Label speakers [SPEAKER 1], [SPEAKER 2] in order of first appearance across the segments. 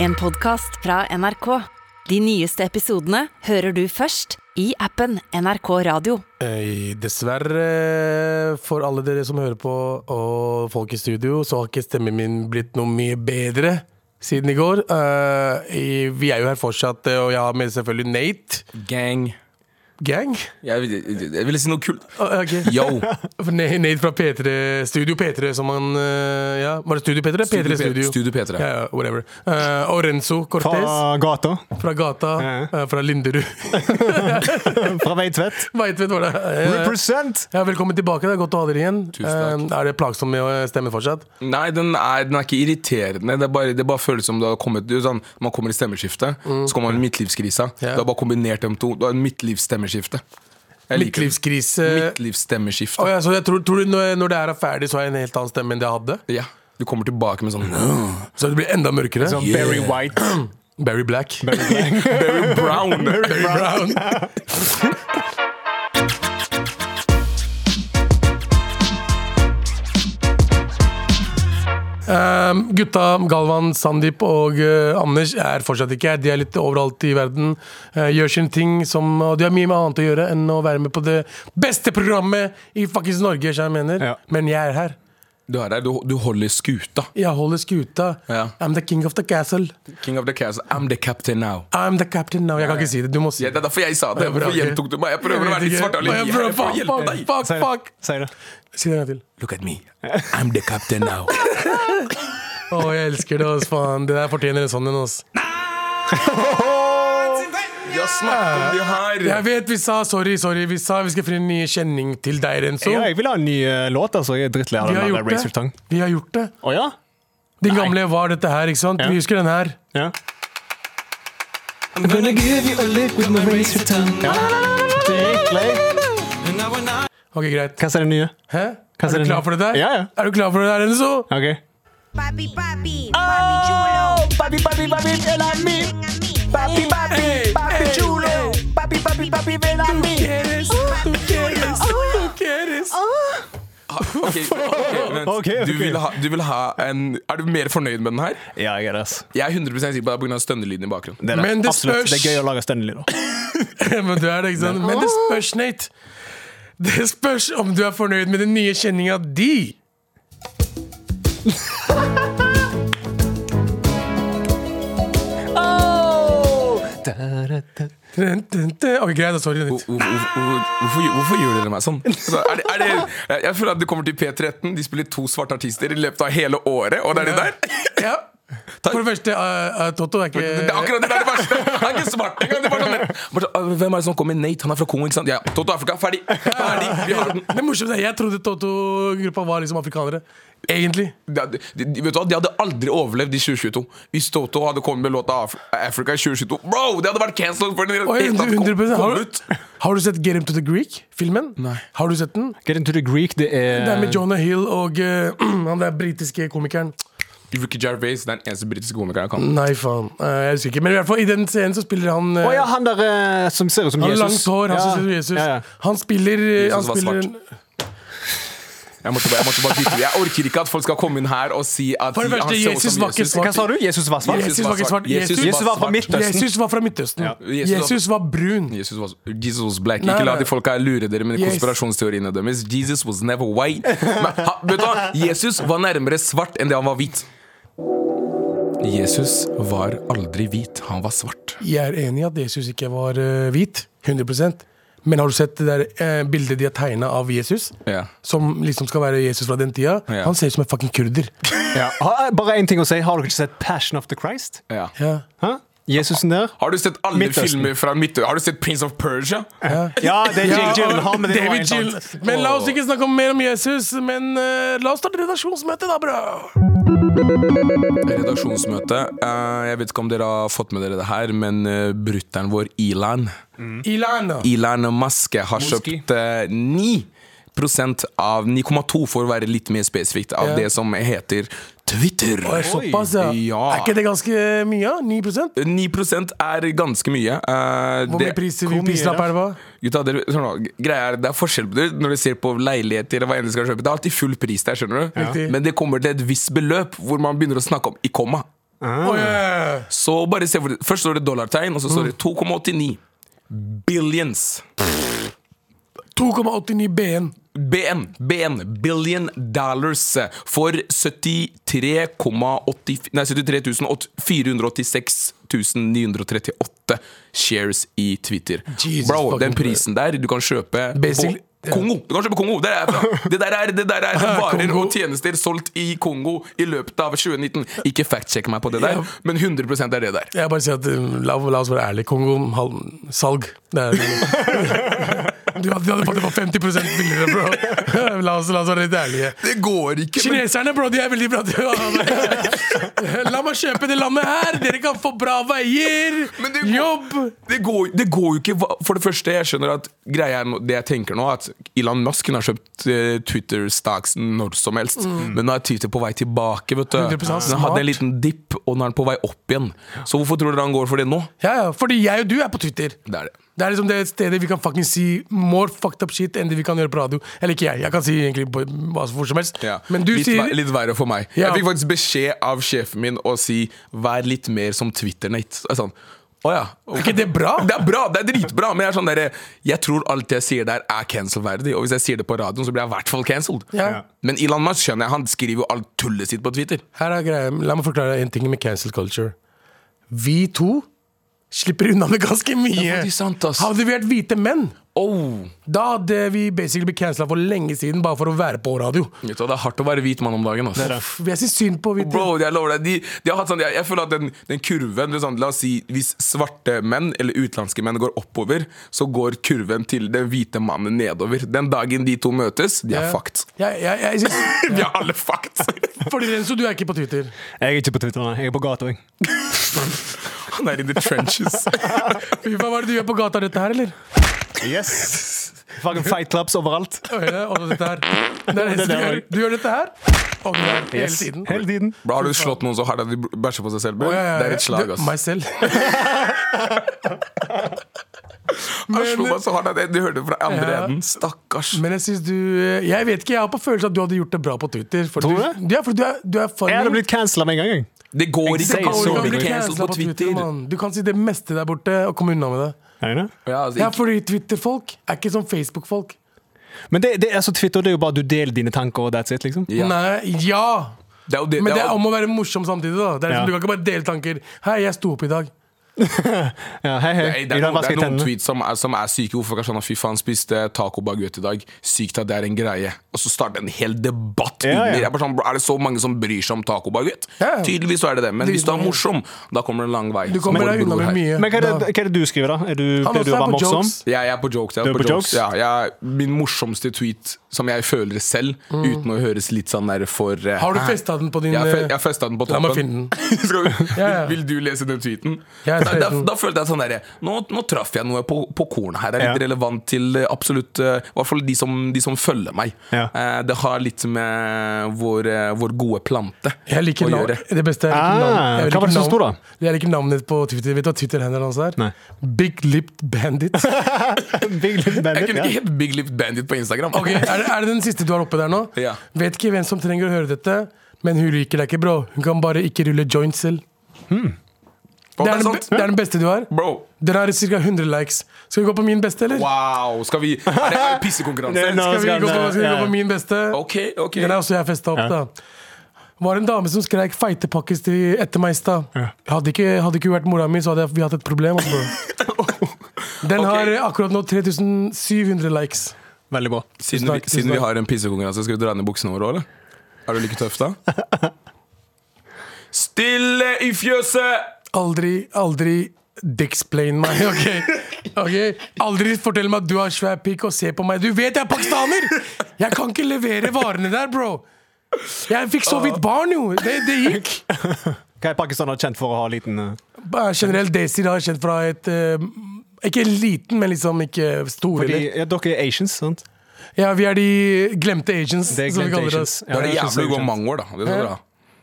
[SPEAKER 1] En podcast fra NRK. De nyeste episodene hører du først i appen NRK Radio.
[SPEAKER 2] Eh, Dessverre for alle dere som hører på og folk i studio, så har ikke stemmen min blitt noe mye bedre siden i går. Eh, i- vi er jo her fortsatt, eh, og jeg har med selvfølgelig Nate.
[SPEAKER 3] Gang.
[SPEAKER 2] Gang?
[SPEAKER 3] Jeg, vil- jeg, jeg ville si noe kult.
[SPEAKER 2] Oh,
[SPEAKER 3] Yo.
[SPEAKER 2] For Na- Nate fra P3 Studio P3, som han eh, Ja, var det Studio P3? P3 Studio.
[SPEAKER 3] Studio P3.
[SPEAKER 2] Ja, ja, whatever. Eh, og Renzo Cortez
[SPEAKER 4] Fra gata.
[SPEAKER 2] fra gata.
[SPEAKER 4] Ja.
[SPEAKER 2] eh, fra Linderud.
[SPEAKER 4] Fra Veitvet.
[SPEAKER 2] Veit vet hva det er. Ja, ja.
[SPEAKER 4] Represent!
[SPEAKER 2] Ja, velkommen tilbake. Det er godt å ha dere igjen.
[SPEAKER 3] Tusen
[SPEAKER 2] Eh, er det plagsomt med å stemme fortsatt?
[SPEAKER 3] Nei, den er, den er ikke irriterende. Det, er bare, det bare føles som du har kommet du, sånn, Man kommer i stemmeskiftet, så kommer man i midtlivskrisa.
[SPEAKER 2] Mm. Ja.
[SPEAKER 3] Du har bare kombinert dem to. Du har en midtlivsstemmeskifte. Jeg liker det.
[SPEAKER 2] Midtlivskrise.
[SPEAKER 3] Midtlivsstemmeskifte.
[SPEAKER 2] eh, Å ja, så jeg tror, tror du når, når det her er ferdig, så har jeg en helt annen stemme enn det jeg hadde?
[SPEAKER 3] ja. Du kommer tilbake med sånn
[SPEAKER 2] Så det blir enda mørkere?
[SPEAKER 4] Som
[SPEAKER 3] Yeah.
[SPEAKER 4] Sånn Barry White.
[SPEAKER 2] Barry Black.
[SPEAKER 3] Very brown.
[SPEAKER 2] Barry Brown. Um, gutta Galvan, Sandeep og eh, Anders er fortsatt ikke her. De er litt overalt i verden. eh, gjør sine ting som, og de har mye med annet å gjøre enn å være med på det beste programmet i fuckings Norge. skjønner du hva Jeg mener.
[SPEAKER 4] Ja.
[SPEAKER 2] Men jeg er her.
[SPEAKER 3] Du er der. Du, du holder skuta.
[SPEAKER 2] Jeg holder skuta.
[SPEAKER 3] Ja.
[SPEAKER 2] I'm the king of the castle.
[SPEAKER 3] King of the castle. I'm the captain now.
[SPEAKER 2] I'm the captain now. Jeg kan ikke si det. Du må si
[SPEAKER 3] Ja, det er derfor jeg sa det.
[SPEAKER 2] Ja, bra,
[SPEAKER 3] Hvorfor
[SPEAKER 2] ok.
[SPEAKER 3] gjentok du meg? Jeg prøver å
[SPEAKER 2] Jeg vet
[SPEAKER 3] være litt
[SPEAKER 2] ikke.
[SPEAKER 3] svartale.
[SPEAKER 2] Jeg prøver- fuck, fuck, fuck,
[SPEAKER 4] Si
[SPEAKER 2] fuck.
[SPEAKER 4] det. Si det.
[SPEAKER 2] Si det en gang til.
[SPEAKER 3] Look at me. I'm the captain now.
[SPEAKER 2] Å, jeg elsker det, ass, faen. Det der fortjener en sånn en, ass.
[SPEAKER 3] Jeg snakker om det her.
[SPEAKER 2] Jeg vet vi sa sorry, sorry. Vi sa vi skal finne en ny kjenning til deg, Renzo.
[SPEAKER 4] Ja, jeg vil ha en ny eh, låt, altså. Jeg er drittlei av
[SPEAKER 2] Vi har
[SPEAKER 4] den der
[SPEAKER 2] gjort
[SPEAKER 4] Razor
[SPEAKER 2] det.
[SPEAKER 4] Tongue.
[SPEAKER 2] Vi har gjort det.
[SPEAKER 4] Å ja?
[SPEAKER 2] Din gamle var dette her, ikke sant?
[SPEAKER 4] Ja.
[SPEAKER 2] Vi husker den her.
[SPEAKER 4] ja?
[SPEAKER 5] I'm gonna give you a lick with my razor tongue.
[SPEAKER 4] Drittlei.
[SPEAKER 5] And now when I
[SPEAKER 2] Ok, greit.
[SPEAKER 4] Hva er det nye?
[SPEAKER 2] Hæ?
[SPEAKER 4] Hva
[SPEAKER 2] Er
[SPEAKER 4] sier
[SPEAKER 2] du
[SPEAKER 4] den?
[SPEAKER 2] klar for det der?
[SPEAKER 4] Ja, ja.
[SPEAKER 2] Er du klar for det der, Renzo?
[SPEAKER 4] OK.
[SPEAKER 6] Papi, papi,
[SPEAKER 7] Oh,
[SPEAKER 6] papi chulo.
[SPEAKER 4] Papi, papi, papi, ven a mí.
[SPEAKER 6] Ven a mí.
[SPEAKER 4] Papi, papi,
[SPEAKER 2] Hey,
[SPEAKER 4] papi
[SPEAKER 2] hey,
[SPEAKER 4] chulo.
[SPEAKER 2] hey.
[SPEAKER 4] Papi, papi, papi, ven a mí. Oh,
[SPEAKER 2] Quieres, du quieres, du quieres.
[SPEAKER 3] Ah, Ok, ok, vent.
[SPEAKER 4] Ok, ok.
[SPEAKER 3] Du, vil ha, du vil ha en Er du mer fornøyd med den her?
[SPEAKER 4] Ja, jeg er det, ass.
[SPEAKER 3] Jeg er 100 sikker på det er pga. stønnelyden i bakgrunnen.
[SPEAKER 4] Det er det.
[SPEAKER 2] Men det
[SPEAKER 4] Absolutt. Det
[SPEAKER 2] spørs.
[SPEAKER 4] er gøy å lage stønnelyder.
[SPEAKER 2] Men du er det, ikke sant? Men det spørs, Nate. Det spørs om du er fornøyd med den nye kjenninga di.
[SPEAKER 4] Oh.
[SPEAKER 2] Dun, dun, dun. Ok, greit. da, Sorry.
[SPEAKER 3] Hvor-
[SPEAKER 2] Nate.
[SPEAKER 3] hvor- hvor- Hvorfor, gjør- hvorfor gjør dere meg sånn? Altså, er det, er det, jeg- jeg føler at du kommer til P13, de spiller to svarte artister i løpet av hele året, og det er det der?
[SPEAKER 2] Ja. For det første, eh, eh, Totto er ikke
[SPEAKER 3] Det er akkurat det der det verste! Han er ikke svart engang! Det er bare sånn, der- bare sånn, «Øh, Hvem er det som kommer? Nate, han er fra Kongo, ikke sant? Ja, Toto Afrika, ferdig! ferdig. Vi har den.
[SPEAKER 2] Det morsomme er, Jeg trodde Totto-gruppa var liksom afrikanere. Egentlig.
[SPEAKER 3] De, hadde- de, de, vet du hva? de hadde aldri overlevd i 2022. Hvis Toto hadde kommet med låta Af Africa i 2022 Bro, det hadde vært cancelled! For den,
[SPEAKER 2] Oi, 100%.
[SPEAKER 3] kom,
[SPEAKER 2] Har,
[SPEAKER 3] kom
[SPEAKER 2] du-
[SPEAKER 3] ut.
[SPEAKER 2] har du sett Get Him to the Greek? Filmen?
[SPEAKER 3] Nei.
[SPEAKER 2] Har du sett den?
[SPEAKER 4] Get into the Greek, det er
[SPEAKER 2] Det er med Jonah Hill og eh, han der britiske komikeren.
[SPEAKER 3] Ricky Gervais det er den eneste britiske komikeren jeg kan.
[SPEAKER 2] Nei, faen. Eh, jeg husker ikke. Men i hvert fall i den scenen så spiller han eh,
[SPEAKER 4] Å ja, han der eh, som ser ut som
[SPEAKER 2] Han har langt
[SPEAKER 4] Jesus.
[SPEAKER 2] hår, han
[SPEAKER 4] Ja.
[SPEAKER 2] som ser ut som Jesus.
[SPEAKER 4] Ja, ja.
[SPEAKER 2] Han spiller, eh,
[SPEAKER 3] Jesus
[SPEAKER 2] han
[SPEAKER 3] var
[SPEAKER 2] spiller
[SPEAKER 3] svart. Jeg, måtte bare, jeg, måtte bare dytte. jeg orker ikke at folk skal komme inn her og si at
[SPEAKER 2] For det
[SPEAKER 3] de-
[SPEAKER 2] første,
[SPEAKER 3] han ser ut
[SPEAKER 2] Jesus
[SPEAKER 3] som
[SPEAKER 2] var ikke svart.
[SPEAKER 4] Hva sa du? Jesus var svart?
[SPEAKER 2] Jesus var ikke svart. Jesus-
[SPEAKER 4] Jesus var fra
[SPEAKER 3] svart.
[SPEAKER 4] Midtøsten.
[SPEAKER 2] Jesus var fra Midtøsten.
[SPEAKER 3] Jesus var-
[SPEAKER 2] Jesus var brun.
[SPEAKER 3] Jesus was, Jesus was black.
[SPEAKER 2] Nei,
[SPEAKER 3] Ikke la
[SPEAKER 2] nei.
[SPEAKER 3] de folka her lure dere med de
[SPEAKER 2] Yes.
[SPEAKER 3] konspirasjonsteoriene deres. Jesus was never white. Men, ha, vet du hva? Jesus var nærmere svart enn det han var hvit. Jesus var aldri hvit, han var svart.
[SPEAKER 2] Jeg er enig i at Jesus ikke var eh, hvit. 100 Men har du sett det der eh, bildet de har tegna av Jesus?
[SPEAKER 3] Ja.
[SPEAKER 2] Som liksom skal være Jesus fra den tida?
[SPEAKER 3] Ja.
[SPEAKER 2] Han ser ut som en fucking kurder.
[SPEAKER 4] Ja. Ha- eh, Bare én ting å si. Har dere ikke sett Passion of the Christ?
[SPEAKER 3] Ja.
[SPEAKER 2] Ja.
[SPEAKER 4] Hæ? Jesusen der?
[SPEAKER 3] Har du sett alle
[SPEAKER 4] Midtøsten.
[SPEAKER 3] filmer fra Midtøsten? Har du sett Prince of Persia?
[SPEAKER 4] Ja, det er Jake
[SPEAKER 2] Ja,
[SPEAKER 4] Gyllenhaal, men det var
[SPEAKER 2] David
[SPEAKER 4] helt
[SPEAKER 2] Gyllen-
[SPEAKER 4] annet.
[SPEAKER 2] Men la oss ikke snakke om mer om Jesus, men eh, la oss starte redaksjonsmøte, da, bro!
[SPEAKER 3] Redaksjonsmøte. Eh, jeg vet ikke om dere har fått med dere det her, men uh, brutter'n vår, Ilan
[SPEAKER 2] Mm. Ilana.
[SPEAKER 3] Elon Musk har
[SPEAKER 4] Muski.
[SPEAKER 3] kjøpt eh, 9 av 9,2 for å være litt mer spesifikt av
[SPEAKER 2] Ja.
[SPEAKER 3] det som heter Twitter.
[SPEAKER 2] Det er Såpass, ja.
[SPEAKER 3] Ja.
[SPEAKER 2] Er ikke det ganske mye? ja? 9 Hvor
[SPEAKER 3] 9 er ganske mye. Eh,
[SPEAKER 2] mye
[SPEAKER 3] det-
[SPEAKER 2] pris,
[SPEAKER 4] hvor mye
[SPEAKER 2] prislapp
[SPEAKER 4] da?
[SPEAKER 2] er det på?
[SPEAKER 3] Gutta, dere, hør nå, greia er, det er forskjell på det når du ser på leiligheter og hva enn du skal kjøpe. Det er alltid full pris der, skjønner du.
[SPEAKER 2] Riktig.
[SPEAKER 3] Mm. Men det kommer til et visst beløp hvor man begynner å snakke om i komma.
[SPEAKER 2] Å, ja.
[SPEAKER 3] Så bare se hvor det, Først står det dollartegn, og så står det 2,89 billions.
[SPEAKER 2] 2,89 BN.
[SPEAKER 3] BN, BN, billion dollars for 73,80 Nei, 73 486 938 shares i Twitter.
[SPEAKER 2] Jesus
[SPEAKER 3] Bro,
[SPEAKER 2] fucking
[SPEAKER 3] den prisen der du kan kjøpe
[SPEAKER 2] Basically-
[SPEAKER 3] på Kongo! Du kan kjøpe Kongo! Der er jeg fra. Det der er, det der er varer
[SPEAKER 2] Kongo.
[SPEAKER 3] og tjenester solgt i Kongo i løpet av 2019. Ikke fact-sjekk meg på det der,
[SPEAKER 2] Ja.
[SPEAKER 3] men 100 er det der.
[SPEAKER 2] Jeg bare sier at um, la, la oss være ærlige. Kongo halv, salg. Det er, du, hadde, du hadde fått det for 50 billigere, bro. La oss, la oss være litt ærlige.
[SPEAKER 3] Det går ikke! men-
[SPEAKER 2] Kineserne, bro, de er veldig bra til å La meg kjøpe det landet her! Dere kan få bra veier!
[SPEAKER 3] Men det går-
[SPEAKER 2] Jobb!
[SPEAKER 3] det går, det går jo ikke hva- For det første, jeg skjønner at greia er nå- Det jeg tenker nå, er at Elon Musk kunne ha kjøpt eh, Twitter-stocks når som helst. Men nå er Twitter på vei tilbake. vet du
[SPEAKER 2] 100%
[SPEAKER 3] Den hadde en
[SPEAKER 2] Mm. smart.
[SPEAKER 3] liten dipp, og nå er den på vei opp igjen. Så hvorfor tror dere han går for det nå?
[SPEAKER 2] Ja, ja, fordi jeg og du er på Twitter.
[SPEAKER 3] Det er det.
[SPEAKER 2] Det er liksom det stedet vi kan fucking si more fucked up shit enn det vi kan gjøre på radio. Eller ikke jeg. Jeg kan si egentlig på- hva som hvor som helst.
[SPEAKER 3] Ja.
[SPEAKER 2] Men du
[SPEAKER 3] litt,
[SPEAKER 2] sier
[SPEAKER 3] ver- litt verre for meg.
[SPEAKER 2] Ja.
[SPEAKER 3] Jeg fikk faktisk beskjed av sjefen min å si 'vær litt mer som Twitter-Nate'. Så jeg er Sånn, å ja.
[SPEAKER 2] Er ikke det bra?
[SPEAKER 3] Det er bra, det er dritbra, men jeg er sånn derre Jeg tror alt jeg sier der, er cancel-verdig. Og hvis jeg sier det på radioen, så blir jeg i hvert fall cancelled.
[SPEAKER 2] Ja.
[SPEAKER 3] Men Elon Musk skjønner jeg, han skriver jo alt tullet sitt på Twitter.
[SPEAKER 2] Her er greia. La meg forklare en ting med cancel culture. Vi to slipper unna med ganske mye.
[SPEAKER 3] Det er faktisk sant, ass.
[SPEAKER 2] Hadde vi vært hvite menn,
[SPEAKER 3] Oh.
[SPEAKER 2] da hadde vi basically blitt cancela for lenge siden bare for å være på radio.
[SPEAKER 3] Vet du hva, Det er hardt å være hvit mann om dagen. ass.
[SPEAKER 2] Pff, Jeg syns synd på hvite.
[SPEAKER 3] Bro, jeg lover deg de, de har hatt sånn, jeg, jeg føler at den, den kurven det er sånn, La oss si hvis svarte menn eller utenlandske menn går oppover, så går kurven til den hvite mannen nedover. Den dagen de to møtes, de er
[SPEAKER 2] Ja.
[SPEAKER 3] fucked.
[SPEAKER 2] Jeg, jeg, jeg syns-
[SPEAKER 3] De er alle fucked.
[SPEAKER 2] Fordi Renzo, du er ikke på Twitter.
[SPEAKER 4] Jeg er ikke på Twitter, nei. Jeg er på gata òg.
[SPEAKER 3] Han er in the trenches.
[SPEAKER 2] Fy faen, hva er det du gjør på gata, dette her, eller?
[SPEAKER 4] Yes. Fucking fight clubs overalt.
[SPEAKER 2] Øyne og dette her. Det er det eneste du gjør. Du gjør dette her, og du gjør det hele tiden.
[SPEAKER 4] Hele tiden.
[SPEAKER 3] Bro, har du slått noen så hardt at de bæsjer på seg selv? bror?
[SPEAKER 2] Ja, ja, ja.
[SPEAKER 3] Det er et slag, ass.
[SPEAKER 2] Meg selv.
[SPEAKER 3] Han slo meg så hardt at jeg, du hørte fra andre
[SPEAKER 2] Ja.
[SPEAKER 3] enden. Stakkars.
[SPEAKER 2] Men jeg syns du eh, Jeg vet ikke, jeg har på følelsen at du hadde gjort det bra på Twitter. For
[SPEAKER 4] Tror du
[SPEAKER 2] du? Ja, for du er, du er funny.
[SPEAKER 4] Jeg hadde blitt cancela med en gang. jeg.
[SPEAKER 3] Det går
[SPEAKER 4] Jeg
[SPEAKER 3] ikke
[SPEAKER 4] sier
[SPEAKER 3] an
[SPEAKER 4] så
[SPEAKER 3] å
[SPEAKER 4] mye.
[SPEAKER 3] bli cancelled på Twitter.
[SPEAKER 2] mann. Du kan si det meste der borte og komme unna med det.
[SPEAKER 4] Er det det?
[SPEAKER 3] Ja, altså,
[SPEAKER 2] Ja,
[SPEAKER 3] ikke-
[SPEAKER 2] fordi Twitter-folk er ikke som Facebook-folk.
[SPEAKER 4] Men det, det, altså, Twitter det er jo bare du deler dine tanker, og that's it, liksom.
[SPEAKER 3] Ja.
[SPEAKER 2] Nei, ja!
[SPEAKER 3] det er jo det,
[SPEAKER 2] Men
[SPEAKER 3] det
[SPEAKER 2] det er
[SPEAKER 3] er jo-
[SPEAKER 2] om å være morsom samtidig, da. Det er liksom,
[SPEAKER 4] Ja.
[SPEAKER 2] Du kan ikke bare dele tanker. 'Hei, jeg sto opp i dag'.
[SPEAKER 4] Ja, hei, hei.
[SPEAKER 3] Nei, det
[SPEAKER 4] I
[SPEAKER 3] er, noen,
[SPEAKER 4] dag
[SPEAKER 3] det
[SPEAKER 4] vasker
[SPEAKER 3] er
[SPEAKER 4] jeg
[SPEAKER 3] noen
[SPEAKER 4] tennene.
[SPEAKER 3] tweets som er, som er syke. Hvorfor kan sånn at fy faen spiste taco baguette i dag? Sykt at det er en greie. Og så starter en hel debatt
[SPEAKER 4] Ja, ja.
[SPEAKER 3] under. Jeg er bare sånn, bro, er det så mange som bryr seg om taco baguette?
[SPEAKER 2] Ja, ja.
[SPEAKER 3] Tydeligvis så er det det. Men hvis du er morsom, da kommer det en lang vei.
[SPEAKER 2] Du kommer
[SPEAKER 3] Som
[SPEAKER 2] deg
[SPEAKER 3] vår
[SPEAKER 2] unna
[SPEAKER 3] bror
[SPEAKER 2] med
[SPEAKER 3] her.
[SPEAKER 2] mye.
[SPEAKER 4] Men hva er,
[SPEAKER 2] Da-
[SPEAKER 4] det, hva er det du skriver, da? Er du,
[SPEAKER 2] Han
[SPEAKER 4] pleier du
[SPEAKER 2] også
[SPEAKER 4] å
[SPEAKER 2] er
[SPEAKER 4] være
[SPEAKER 2] på
[SPEAKER 4] morsom?
[SPEAKER 2] jokes.
[SPEAKER 3] Ja, jeg er på jokes. Jeg
[SPEAKER 4] Du
[SPEAKER 3] er
[SPEAKER 4] er
[SPEAKER 3] på
[SPEAKER 4] på
[SPEAKER 3] jokes. Ja,
[SPEAKER 4] jokes?
[SPEAKER 3] jeg, min morsomste tweet, som jeg føler selv, uten å høres litt sånn der for eh,
[SPEAKER 2] Mm. Har du
[SPEAKER 3] hæ?
[SPEAKER 2] festa den på din
[SPEAKER 3] Jeg, fe-
[SPEAKER 2] eh,
[SPEAKER 3] jeg festa den på
[SPEAKER 2] La
[SPEAKER 3] toppen.
[SPEAKER 2] meg finne den.
[SPEAKER 3] Skal du,
[SPEAKER 2] Ja, ja.
[SPEAKER 3] Vil du lese den tweeten?
[SPEAKER 2] Jeg
[SPEAKER 3] Da,
[SPEAKER 2] er
[SPEAKER 3] da,
[SPEAKER 2] treten.
[SPEAKER 3] da følte jeg sånn derre nå, nå traff jeg noe på, på kornet her. Det er litt
[SPEAKER 4] Ja.
[SPEAKER 3] relevant til eh, absolutt eh, I hvert fall de som, de som følger meg.
[SPEAKER 4] Ja.
[SPEAKER 3] Eh, det har litt med vår, eh, vår gode plante
[SPEAKER 2] Jeg liker
[SPEAKER 3] å
[SPEAKER 2] navn.
[SPEAKER 3] gjøre.
[SPEAKER 2] Det beste er jeg liker
[SPEAKER 4] Ah,
[SPEAKER 2] navn. Jeg
[SPEAKER 4] hva var det som
[SPEAKER 2] liker
[SPEAKER 4] sto
[SPEAKER 2] navn- Jeg liker navnet på Twitter. Vet du hva Twitter-hendelen hans er?
[SPEAKER 4] Nei.
[SPEAKER 2] Big Lipped Bandit.
[SPEAKER 4] Big Little
[SPEAKER 3] Jeg
[SPEAKER 4] Bandit,
[SPEAKER 3] kunne
[SPEAKER 4] ja.
[SPEAKER 3] ikke hett Big Lift Bandit på Instagram.
[SPEAKER 2] Ok, er, det, er det den siste du har oppe der nå?
[SPEAKER 3] Ja.
[SPEAKER 2] Vet ikke hvem som trenger å høre dette, men hun liker deg ikke, bro. Hun kan bare ikke rulle joints selv.
[SPEAKER 3] Og
[SPEAKER 2] Det er, den,
[SPEAKER 3] sant.
[SPEAKER 2] be- det er den beste du har.
[SPEAKER 3] Bro,
[SPEAKER 2] Den har ca. 100 likes. Skal vi gå på min beste, eller?
[SPEAKER 3] wow! Skal vi Er det en pissekonkurranse?
[SPEAKER 4] Nei, nå
[SPEAKER 2] Skal vi
[SPEAKER 4] skal
[SPEAKER 2] gå på,
[SPEAKER 4] den,
[SPEAKER 2] skal vi gå
[SPEAKER 4] ja.
[SPEAKER 2] på min beste?
[SPEAKER 3] Ok, ok.
[SPEAKER 2] Den er også jeg festa opp, da. Var en dame som skreik 'feitepakkis' til- etter meg i stad. Hadde ikke hadde ikke hun vært mora mi, så hadde jeg, vi hatt et problem. altså, bro. Den
[SPEAKER 3] Ok.
[SPEAKER 2] har akkurat nå 3700 likes.
[SPEAKER 4] Veldig bra.
[SPEAKER 3] Siden, vi,
[SPEAKER 2] Tusen takk, tusen
[SPEAKER 3] siden vi
[SPEAKER 2] takk.
[SPEAKER 3] har en pissekonkurranse, skal vi dra ned buksene våre òg, eller? Er du like tøff da? Stille i fjøset!
[SPEAKER 2] Aldri, aldri dexplain meg, OK? Ok? Aldri fortell meg at du har svær pikk og se på meg. Du vet jeg er pakistaner! Jeg kan ikke levere varene der, bro. Jeg fikk så vidt barn, jo. Det, det gikk.
[SPEAKER 4] Hva er Pakistan er kjent for å ha liten eh,
[SPEAKER 2] Bare Generelt Daisy har jeg kjent fra et eh, Ikke liten, men liksom ikke stor.
[SPEAKER 4] Fordi
[SPEAKER 2] eller?
[SPEAKER 4] ja, dere er Asians, sant?
[SPEAKER 2] Ja, vi er de glemte agents,
[SPEAKER 4] Det er
[SPEAKER 2] som vi
[SPEAKER 4] glemte
[SPEAKER 2] kaller
[SPEAKER 4] Asians.
[SPEAKER 2] oss.
[SPEAKER 3] Da er det
[SPEAKER 4] Ja,
[SPEAKER 3] jævlig å gå
[SPEAKER 4] Asians.
[SPEAKER 3] mangoer, da. Det er så bra.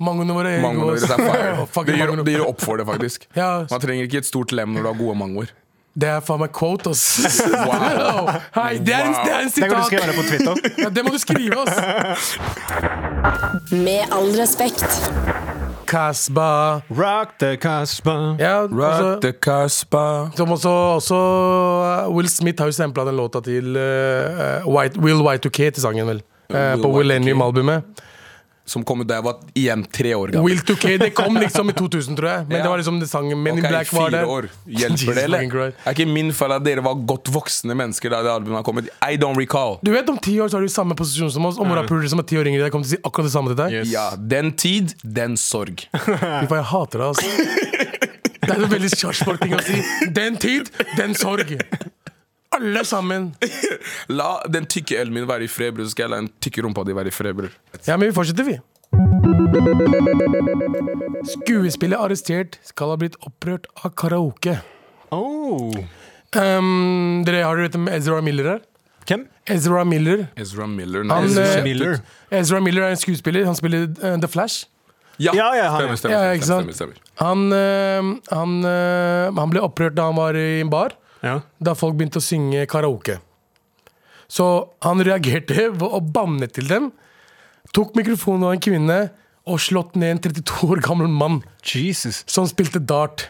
[SPEAKER 2] Mangoene våre er
[SPEAKER 3] Mangoene
[SPEAKER 2] gode,
[SPEAKER 3] deres er
[SPEAKER 2] ass.
[SPEAKER 3] fire.
[SPEAKER 2] Fuck
[SPEAKER 3] Det gjør,
[SPEAKER 2] mangoene.
[SPEAKER 3] det gjør opp for det, faktisk.
[SPEAKER 2] Ja.
[SPEAKER 3] Man trenger ikke et stort lem når du har gode mangoer.
[SPEAKER 2] Det er faen meg quote, ass. Wow. Hei, det er en, det er en
[SPEAKER 4] Tenk om du
[SPEAKER 2] sitat!
[SPEAKER 4] skrev det på Twitter.
[SPEAKER 2] Ja, det må du skrive, ass.
[SPEAKER 8] Med all respekt.
[SPEAKER 2] Casbah.
[SPEAKER 4] Rock the Casbah.
[SPEAKER 2] Ja, altså-
[SPEAKER 3] Rock the Casbah.
[SPEAKER 2] Som også, også Will Smith har jo sampla den låta til eh, White, Will Y2K til sangen, vel. Eh,
[SPEAKER 3] Will
[SPEAKER 2] på
[SPEAKER 3] Y2K.
[SPEAKER 2] Willennium-albumet.
[SPEAKER 3] Som kom ut da jeg var igjen tre år gammel.
[SPEAKER 2] Will 2K det kom liksom i 2000, tror jeg. Men
[SPEAKER 3] Ja.
[SPEAKER 2] det var liksom det sangen Men
[SPEAKER 3] Ok,
[SPEAKER 2] in Black var
[SPEAKER 3] fire
[SPEAKER 2] der.
[SPEAKER 3] År. Hjelper
[SPEAKER 2] Jesus
[SPEAKER 3] det, eller?
[SPEAKER 2] fucking Christ.
[SPEAKER 3] Er ikke min feil at dere var godt voksne mennesker da det albumet har kommet? I don't recall.
[SPEAKER 2] Du vet, om ti år så er du i samme posisjon som oss, og morapulere som er ti år yngre. Jeg kommer til å si akkurat det samme til deg.
[SPEAKER 4] Yes.
[SPEAKER 3] Ja, den tid, den sorg.
[SPEAKER 2] Fy faen, jeg hater deg, altså. Det er en veldig kjarsborg-ting å si. Den tid, den sorg. Alle sammen.
[SPEAKER 3] La den tykke elen min være i fred, bror, så skal jeg la den tykke rumpa di være i fred, bror.
[SPEAKER 2] Ja, men vi fortsetter, vi. Skuespiller arrestert skal ha blitt opprørt av karaoke.
[SPEAKER 4] Oh.
[SPEAKER 2] Ehm, dere har dere vet om Ezra Miller her?
[SPEAKER 4] Hvem?
[SPEAKER 2] Ezra Miller.
[SPEAKER 3] Ezra Miller. nei,
[SPEAKER 2] Han,
[SPEAKER 3] jeg synes
[SPEAKER 2] eh,
[SPEAKER 3] ikke.
[SPEAKER 4] Miller.
[SPEAKER 2] Ezra Miller er en skuespiller. Han spiller eh, The Flash.
[SPEAKER 3] Ja,
[SPEAKER 4] Ja, ja, han-
[SPEAKER 3] stemmer, stemmer,
[SPEAKER 2] Ja,
[SPEAKER 3] stemmer,
[SPEAKER 2] ikke
[SPEAKER 3] stemmer,
[SPEAKER 2] sant?
[SPEAKER 3] stemmer,
[SPEAKER 2] Han, ehm, han, ehm, han ble opprørt da han var i en bar,
[SPEAKER 4] Ja.
[SPEAKER 2] da folk begynte å synge karaoke. Så han reagerte ved å banne til dem, tok mikrofonen av en kvinne og slått ned en 32 år gammel mann.
[SPEAKER 4] Jesus.
[SPEAKER 2] som spilte dart.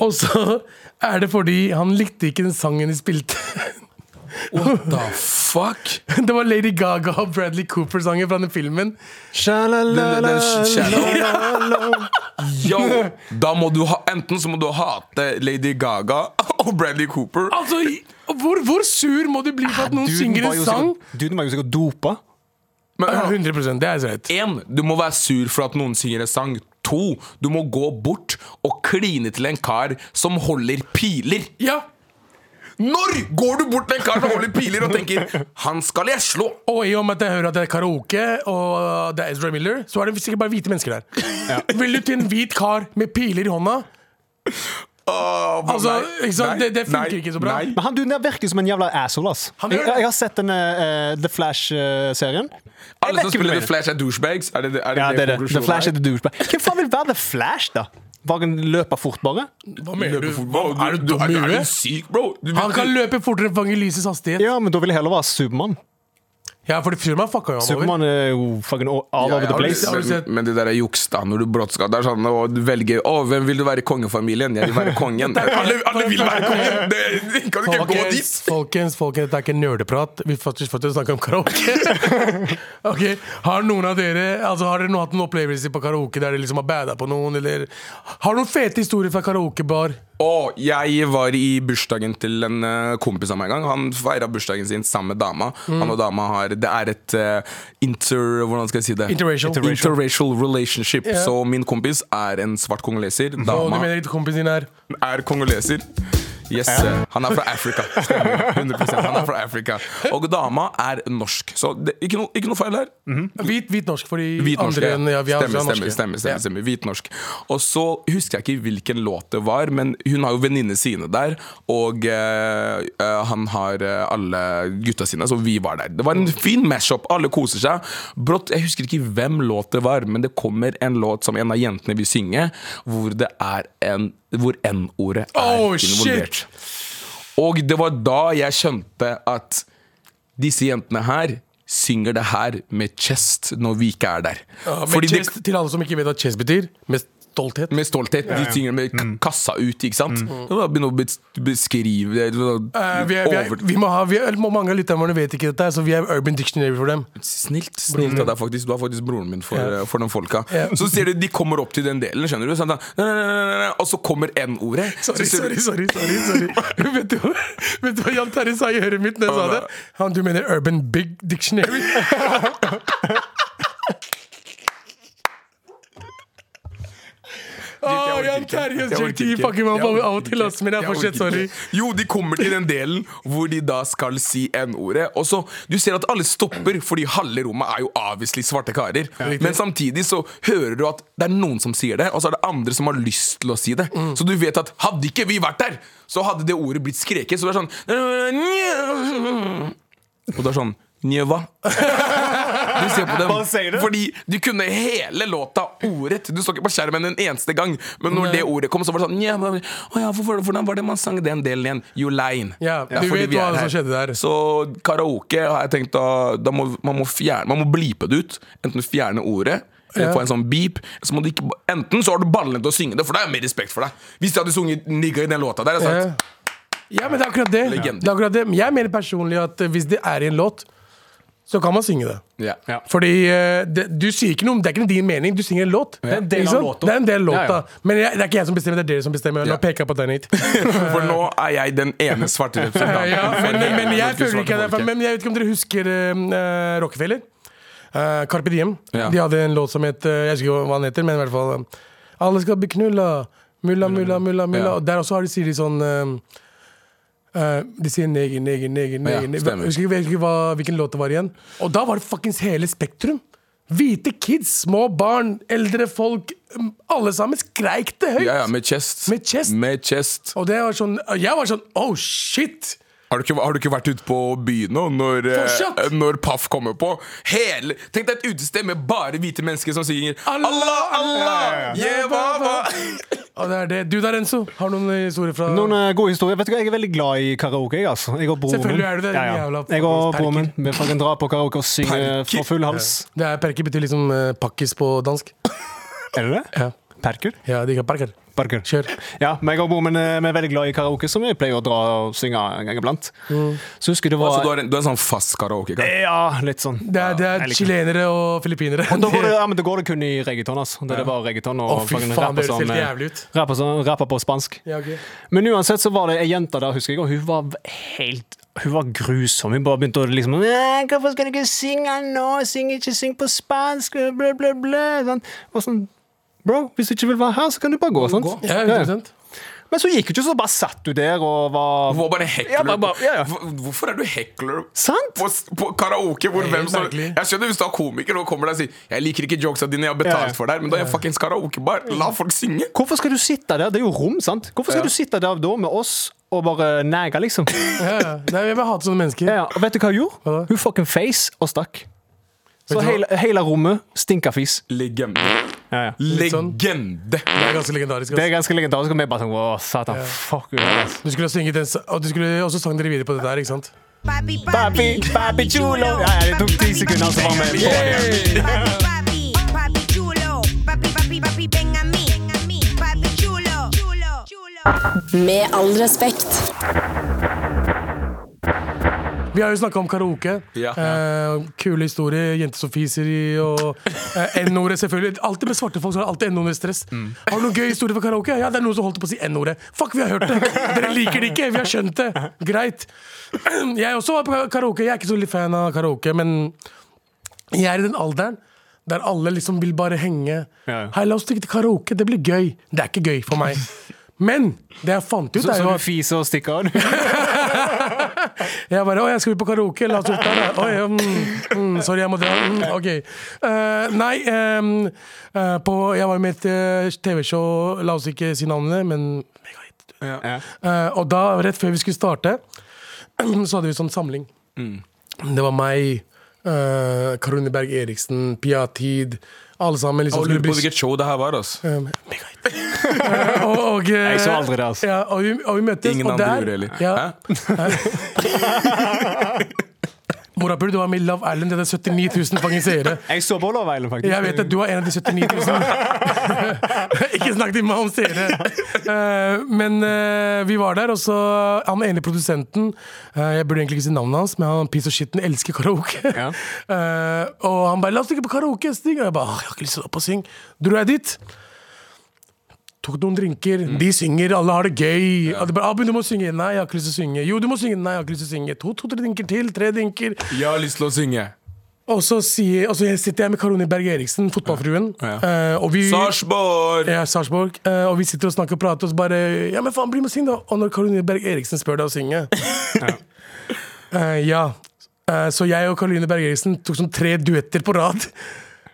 [SPEAKER 2] Og så er det fordi han likte ikke den sangen de spilte.
[SPEAKER 3] What the fuck?
[SPEAKER 2] Det var Lady Gaga og Bradley Cooper-sangen fra den filmen.
[SPEAKER 3] Den- den
[SPEAKER 4] Sjalalala.
[SPEAKER 3] Yo, da må du ha, enten så må du hate Lady Gaga og Bradley Cooper.
[SPEAKER 2] Altså, i- hvor, hvor sur må du bli for at noen synger en sang?
[SPEAKER 4] Duden var jo sikkert dopa.
[SPEAKER 3] Men
[SPEAKER 2] Ja,
[SPEAKER 3] hør,
[SPEAKER 2] 100 det er så rett.
[SPEAKER 3] en, du må være sur for at noen synger en sang. To, du må gå bort og kline til en kar som holder piler.
[SPEAKER 2] Ja,
[SPEAKER 3] Når går du bort til en kar som holder piler og tenker 'han skal jeg slå'?
[SPEAKER 2] og i og med at jeg hører at det er karaoke og det er Ezra Miller, så er det sikkert bare hvite mennesker der. Vil du til en hvit kar med piler i hånda?
[SPEAKER 3] Åh, hva-
[SPEAKER 2] Altså,
[SPEAKER 3] nei,
[SPEAKER 2] ikke sant?
[SPEAKER 3] nei,
[SPEAKER 2] Det- det funker
[SPEAKER 3] nei,
[SPEAKER 2] ikke så bra.
[SPEAKER 3] nei.
[SPEAKER 4] Men han duden der virker som en jævla asshole, ass.
[SPEAKER 2] Han
[SPEAKER 4] Jeg,
[SPEAKER 2] gjør det.
[SPEAKER 4] jeg har sett den eh, The Flash-serien. Jeg
[SPEAKER 3] Alle
[SPEAKER 4] vet
[SPEAKER 3] som
[SPEAKER 4] ikke hva du
[SPEAKER 3] spiller The
[SPEAKER 4] mener.
[SPEAKER 3] Flash er douchebags? Er det det, er det,
[SPEAKER 4] Ja, det er det. The
[SPEAKER 3] konklusjonen
[SPEAKER 4] Flash
[SPEAKER 3] er?
[SPEAKER 4] er the douchebag. Hvem faen vil være The Flash, da? Bare han løper fort, bare?
[SPEAKER 2] Hva mener du?
[SPEAKER 3] Løper fort, bro.
[SPEAKER 2] Er du dum i
[SPEAKER 3] Er du
[SPEAKER 2] huet?
[SPEAKER 3] syk, bro? Du vet
[SPEAKER 2] Han kan
[SPEAKER 3] ikke-
[SPEAKER 2] løpe fortere enn Fangelysets hastighet.
[SPEAKER 4] Ja, men da vil jeg heller være Supermann.
[SPEAKER 2] Ja, for Firmaet fucka jo ham over.
[SPEAKER 4] Supermann er jo fucking all all over the
[SPEAKER 3] har du-
[SPEAKER 4] place.
[SPEAKER 2] Har du sett-
[SPEAKER 3] Men, men det der er juks, da. Når du brått skal Det er sånn å du velger Å, hvem vil du være i kongefamilien? Jeg vil være kongen. alle, alle vil være kongen! Det, det kan du ikke gå dit!
[SPEAKER 2] Folkens, folkens, folkens, det er ikke nerdeprat. Vi faktisk faktisk snakker om karaoke. ok, Har noen av dere Altså har dere nå hatt en opplevelse på karaoke der dere liksom har bada på noen? Eller har noen fete historier fra karaokebar?
[SPEAKER 3] Og jeg var i bursdagen til en eh, kompis av meg en gang. Han feira bursdagen sin sammen med dama.
[SPEAKER 4] Mm.
[SPEAKER 3] Han og dama har Det er et eh, inter... Hvordan skal jeg si det?
[SPEAKER 2] Interracial.
[SPEAKER 3] Interracial, relationship.
[SPEAKER 2] Ja.
[SPEAKER 3] Så min kompis er en svart kongoleser.
[SPEAKER 2] Og du
[SPEAKER 3] Dama
[SPEAKER 2] mener ikke kompisen din er
[SPEAKER 3] er kongoleser. Yes, eh, Han er fra Afrika. Stemmer. 100 han er fra Afrika. Og dama er norsk. Så det, ikke, no, ikke noe feil her.
[SPEAKER 2] hvit, hvit norsk? Fordi
[SPEAKER 3] Hvitnorsk.
[SPEAKER 2] andre enn ja, vi har
[SPEAKER 3] stemmer,
[SPEAKER 2] også
[SPEAKER 3] stemmer,
[SPEAKER 2] norske.
[SPEAKER 3] stemmer, stemmer, stemmer. Hvitnorsk. Og så husker jeg ikke hvilken låt det var, men hun har jo venninnene sine der, og eh, eh, han har eh, alle gutta sine, så vi var der. Det var en fin mash-up, alle koser seg. Brått, jeg husker ikke hvem låt det var, men det kommer en låt som en av jentene vil synge, hvor det er en hvor N-ordet er
[SPEAKER 2] Oh,
[SPEAKER 3] involvert.
[SPEAKER 2] shit!
[SPEAKER 3] Og det var da jeg skjønte at disse jentene her synger det her med chest når vi ikke er der.
[SPEAKER 2] Ja, med
[SPEAKER 3] Fordi det-
[SPEAKER 2] chest, til alle som ikke vet hva chest betyr. Med stolthet.
[SPEAKER 3] med stolthet. De synger med
[SPEAKER 2] Mm.
[SPEAKER 3] k- kassa ut, ikke sant? Mm. Da begynner å bes- beskrive det, eller
[SPEAKER 2] Eh, vi, er, vi, er,
[SPEAKER 3] over-
[SPEAKER 2] vi må ha vi er, Mange av lytterne våre vet ikke dette, her, så vi er Urban Dictionary for dem.
[SPEAKER 3] Snilt, snilt av deg faktisk. Du er faktisk broren min for,
[SPEAKER 2] Mm.
[SPEAKER 3] eh,
[SPEAKER 2] Ja.
[SPEAKER 3] for den folka.
[SPEAKER 2] Ja.
[SPEAKER 3] Så ser du de kommer opp til den delen, skjønner du? Sånn, da, "Nei, nei, nei, nei, nei," og så kommer N-ordet. Så
[SPEAKER 2] Sorry,
[SPEAKER 3] ser du-
[SPEAKER 2] sorry, sorry. sorry, sorry. vet, du, vet du hva Jan Terje sa i øret mitt da jeg sa det? Han, du mener Urban Big Dictionary? Å,
[SPEAKER 3] orker
[SPEAKER 2] Jan
[SPEAKER 3] ikke.
[SPEAKER 2] Terjes
[SPEAKER 3] Jeg orker
[SPEAKER 2] JT
[SPEAKER 3] ikke.
[SPEAKER 2] fucker meg
[SPEAKER 3] Jeg
[SPEAKER 2] opp av
[SPEAKER 3] orker
[SPEAKER 2] og til,
[SPEAKER 3] ikke.
[SPEAKER 2] ass, men jeg
[SPEAKER 3] Jeg
[SPEAKER 2] får sett,
[SPEAKER 3] orker
[SPEAKER 2] sorry.
[SPEAKER 3] ikke. Jo, de kommer til den delen hvor de da skal si N-ordet, og så Du ser at alle stopper, fordi halve rommet er jo avviselig svarte karer. Men samtidig så hører du at det er noen som sier det, og så er det andre som har lyst til å si det. Så du vet at hadde ikke vi vært der, så hadde det ordet blitt skreket. Så det er sånn Og det er sånn Njøva. Du ser på dem.
[SPEAKER 4] Bare sier det.
[SPEAKER 3] Fordi du kunne hele låta ordrett. Du så ikke på skjermen en eneste gang. Men når det ordet kom, så var det sånn «Nja, men- å ja, hvorfor, Hvordan var det man sang den delen igjen? You line.
[SPEAKER 2] Ja,
[SPEAKER 3] Det er
[SPEAKER 2] du
[SPEAKER 3] fordi
[SPEAKER 2] vet
[SPEAKER 3] vi
[SPEAKER 2] hva
[SPEAKER 3] er her.
[SPEAKER 2] som skjedde der.
[SPEAKER 3] Så karaoke har jeg tenkt da, da må, man, må fjerne, man må blipe det ut. Enten fjerne ordet eller få en sånn beep, så må du ikke Enten så har du ballene til å synge det, for da har jeg mer respekt for deg. Hvis jeg hadde sunget 'nigga' i den låta der, jeg hadde jeg sagt
[SPEAKER 2] Ja, men det er akkurat det.
[SPEAKER 3] Legende.
[SPEAKER 2] det, er akkurat det. Men jeg er mer personlig at eh, hvis det er i en låt, så kan man synge det.
[SPEAKER 3] ja.
[SPEAKER 4] Ja.
[SPEAKER 2] Fordi eh, det, du sier ikke noe, det er ikke din mening, du synger en låt.
[SPEAKER 4] er en del
[SPEAKER 2] Ikke
[SPEAKER 4] av
[SPEAKER 2] sant?
[SPEAKER 4] låta.
[SPEAKER 2] Det er en del av låta.
[SPEAKER 4] Ja, ja.
[SPEAKER 2] Men jeg, det er ikke jeg som bestemmer, det er dere som bestemmer.
[SPEAKER 3] Ja.
[SPEAKER 2] Nå peker jeg på deg, Nate.
[SPEAKER 3] For nå er jeg den ene svarte representanten.
[SPEAKER 2] ja,
[SPEAKER 3] for
[SPEAKER 2] men,
[SPEAKER 3] det
[SPEAKER 2] men
[SPEAKER 3] ene
[SPEAKER 2] jeg
[SPEAKER 3] norske
[SPEAKER 2] føler
[SPEAKER 3] svarte
[SPEAKER 2] ikke det.
[SPEAKER 3] folket.
[SPEAKER 2] Men jeg vet ikke om dere husker eh, eh, Rockefeller? Eh, Carpe Diem.
[SPEAKER 3] Ja.
[SPEAKER 2] De hadde en låt som het eh, Jeg husker ikke hva den heter, men i hvert fall eh, Alle skal bli knulla. Mulla, mulla, mulla. mulla.
[SPEAKER 3] Ja.
[SPEAKER 2] Og der også har de sier de sånn eh, eh, De sier neger, neger, neger.
[SPEAKER 3] Ja,
[SPEAKER 2] neger.
[SPEAKER 3] stemmer.
[SPEAKER 2] husker ikke, jeg husker ikke hva, hvilken låt det var igjen. Og da var det fuckings hele Spektrum. Hvite kids, små barn, eldre folk. mm, Alle sammen skreik det høyt.
[SPEAKER 3] Ja, ja, med chest.
[SPEAKER 2] Med chest.
[SPEAKER 3] Med chest.
[SPEAKER 2] Og det var sånn, jeg var sånn oh shit!
[SPEAKER 3] Har du, ikke, har du ikke vært ute på byen nå når, eh,
[SPEAKER 2] Fortsatt!
[SPEAKER 3] når Paff kommer på? Hele, tenk deg et utested med bare hvite mennesker som synger
[SPEAKER 2] Allah,
[SPEAKER 3] Allah, Allah,
[SPEAKER 2] Allah,
[SPEAKER 3] yeah, baba.
[SPEAKER 2] Og det er det. Du da, Renzo, har du noen historier fra
[SPEAKER 4] Noen eh, gode historier. Vet du hva, Jeg er veldig glad i karaoke. jeg, Altså. Jeg og broren min.
[SPEAKER 2] Selvfølgelig er du det, din
[SPEAKER 4] Ja, ja.
[SPEAKER 2] jævla
[SPEAKER 4] Jeg og broren min
[SPEAKER 2] perker.
[SPEAKER 4] Vi får kan dra på karaoke og synge
[SPEAKER 3] Perker?
[SPEAKER 4] for full hals.
[SPEAKER 2] Det er perker betyr liksom eh, pakkis på dansk.
[SPEAKER 4] Er det det?
[SPEAKER 2] Ja,
[SPEAKER 4] Perker?
[SPEAKER 2] ja de kan perker.
[SPEAKER 4] Perker.
[SPEAKER 2] Kjør.
[SPEAKER 4] Ja, meg og broren min eh, vi er veldig glad i karaoke, så vi pleier å dra og synge en gang iblant.
[SPEAKER 2] Mm.
[SPEAKER 4] Så husker jeg det
[SPEAKER 3] Altså, du,
[SPEAKER 4] var
[SPEAKER 3] har en, du er en sånn fast karaokekar.
[SPEAKER 4] Ja, litt sånn.
[SPEAKER 2] Det er, det er
[SPEAKER 4] Jeg liker
[SPEAKER 2] chilenere og filippinere.
[SPEAKER 4] Men da går det, ja, men da går det kun i reggaeton, altså. Det er det bare reggaeton og
[SPEAKER 2] Å, fy
[SPEAKER 4] fucking
[SPEAKER 2] faen,
[SPEAKER 4] rapper
[SPEAKER 2] det høres
[SPEAKER 4] som,
[SPEAKER 2] helt
[SPEAKER 4] eh,
[SPEAKER 2] jævlig ut.
[SPEAKER 4] rapper som- Rapper på spansk.
[SPEAKER 2] Ja, ok.
[SPEAKER 4] Men uansett så var det ei jente der, husker jeg, og hun var helt hun var grusom. Hun bare begynte å liksom «Nei, 'Hvorfor skal du ikke synge nå? Syng ikke, syng på spansk!' Blø, blø, blø. Sånn. Og sånn, Bro, hvis du ikke vil være her, så kan du bare gå. sant?
[SPEAKER 2] Ja,
[SPEAKER 4] Ja, ja.
[SPEAKER 2] 100%.
[SPEAKER 4] Men så gikk hun ikke, så bare satt du der og var
[SPEAKER 3] Du var bare hekler.
[SPEAKER 4] Ja, bare- bare- ja, ja.
[SPEAKER 3] Hvor- Hvorfor er du hekler
[SPEAKER 4] Sant?
[SPEAKER 3] på, på karaoke? Hvor
[SPEAKER 2] Det er
[SPEAKER 3] hvem
[SPEAKER 2] helt
[SPEAKER 3] som
[SPEAKER 2] merkelig.
[SPEAKER 3] Jeg skjønner hvis du er komiker og kommer der og sier 'Jeg liker ikke jokesa dine, jeg har
[SPEAKER 4] Ja,
[SPEAKER 3] betalt
[SPEAKER 4] ja. Mm.
[SPEAKER 3] for deg', men da er jeg fuckings karaokebar. La folk synge.
[SPEAKER 4] Hvorfor skal du sitte der? Det er jo rom, sant? Hvorfor skal
[SPEAKER 3] Ja.
[SPEAKER 4] du sitte der da med oss og bare næge, liksom?
[SPEAKER 2] Ja, ja. Nei, jeg bare hater sånne mennesker.
[SPEAKER 4] Ja, ja. Og vet du hva hun gjorde?
[SPEAKER 2] Hva da?
[SPEAKER 4] Hun fucking face og stakk.
[SPEAKER 2] Vet
[SPEAKER 4] Så
[SPEAKER 2] du hva?
[SPEAKER 4] hele, hele rommet stinka fis.
[SPEAKER 3] Legende.
[SPEAKER 4] Ja, ja.
[SPEAKER 2] Litt sånn.
[SPEAKER 3] Legende.
[SPEAKER 2] Det er ganske legendarisk.
[SPEAKER 4] Det er
[SPEAKER 2] ass.
[SPEAKER 4] ganske legendarisk. Og vi bare sånn Å, satan. Fuck you. ass."
[SPEAKER 2] Du skulle ha synget den, sa- og du skulle også sang dere videre på dette her, ikke sant?
[SPEAKER 6] Papi,
[SPEAKER 4] Papi, papi chulo. Ja, ja, det tok ti sekunder, så var vi på
[SPEAKER 6] Papi, papi, papi chulo. Papi, papi, papi, ven a mí. Ven a mí. Papi chulo. Chulo. Chulo.
[SPEAKER 8] Med all respekt.
[SPEAKER 2] Vi har jo snakka om karaoke.
[SPEAKER 3] Ja.
[SPEAKER 2] Eh, kule historier. Jenter som fiser i, og eh, N-ordet, selvfølgelig. Alltid med svarte folk så er det alltid N-ordet stress.
[SPEAKER 4] Mm.
[SPEAKER 2] Har du noen gøy historie for karaoke? Ja, det er noen som holdt på å si N-ordet. Fuck, vi har hørt det! Dere liker det ikke! Vi har skjønt det! Greit. Jeg også var på karaoke. Jeg er ikke så veldig fan av karaoke, men jeg er i den alderen der alle liksom vil bare henge.
[SPEAKER 4] Ja, ja.
[SPEAKER 2] Hei, la oss stikke til karaoke. Det blir gøy. Det er ikke gøy for meg. Men det jeg fant ut,
[SPEAKER 4] Så,
[SPEAKER 2] er
[SPEAKER 4] så
[SPEAKER 2] jo
[SPEAKER 4] du
[SPEAKER 2] at
[SPEAKER 4] fiser og stikker av?
[SPEAKER 2] jeg bare 'Å, jeg skal ut på karaoke. La oss gjøre det.' Oi, mm, mm, sorry, jeg må dra. Mm, ok. Eh, nei, ehm, eh, på, jeg var med i et eh, TV-show, la oss ikke si navnene, men megahit.
[SPEAKER 4] Ja.
[SPEAKER 2] Eh, og da, rett før vi skulle starte, så hadde vi sånn samling. Det var meg, eh, Karone Berg Eriksen, Pia Tid, alle sammen. liksom
[SPEAKER 3] Jeg lurer Sånn
[SPEAKER 2] skulle
[SPEAKER 3] på
[SPEAKER 2] bli-
[SPEAKER 3] hvilket show det her var. ass
[SPEAKER 2] Um, megahit. Eh, og, og, eh,
[SPEAKER 4] Jeg så aldri det, altså.
[SPEAKER 2] Ja, og, vi, og vi møttes,
[SPEAKER 3] Ingen
[SPEAKER 2] og
[SPEAKER 3] andre
[SPEAKER 2] der
[SPEAKER 3] gjorde det heller.
[SPEAKER 2] ja,
[SPEAKER 3] Hæ?
[SPEAKER 2] Morapul, du var med i Love Island. Det er 79 000 fuckings seere.
[SPEAKER 4] Jeg så på Love Island, faktisk.
[SPEAKER 2] Jeg vet at du er en av de 79 000. Ikke snakk til meg om seere! Eh, men eh, vi var der, og så han ene produsenten eh, Jeg burde egentlig ikke si navnet hans, men han piece of shiten elsker karaoke.
[SPEAKER 4] Ja.
[SPEAKER 2] Eh, og han bare 'la oss stikke på karaoke', Stig. Og jeg bare «Åh, 'jeg har ikke lyst til å opp og synge'. Dro jeg dit. Tok noen drinker,
[SPEAKER 4] Mm.
[SPEAKER 2] de synger, alle har det gøy. Og de bare, 'Abu, du må synge'. 'Nei, jeg har ikke lyst til å synge'. 'Jo, du må synge'. 'Nei, jeg har ikke lyst til å synge'. To, to, tre drinker til, tre drinker.
[SPEAKER 3] Jeg har lyst til å synge.
[SPEAKER 2] Og så, sier, og så sitter jeg med Karoni Berg Eriksen, fotballfruen.
[SPEAKER 3] Ja.
[SPEAKER 2] eh, og vi,
[SPEAKER 3] Sarpsborg!
[SPEAKER 2] ja, Sarpsborg. Eh, og vi sitter og snakker og prater, og så bare Ja, men faen, bli med og syng, da! Og når Karoline Berg Eriksen spør deg å synge Eh, Ja. Eh, så jeg og Karoline Berg Eriksen tok sånn tre duetter på rad,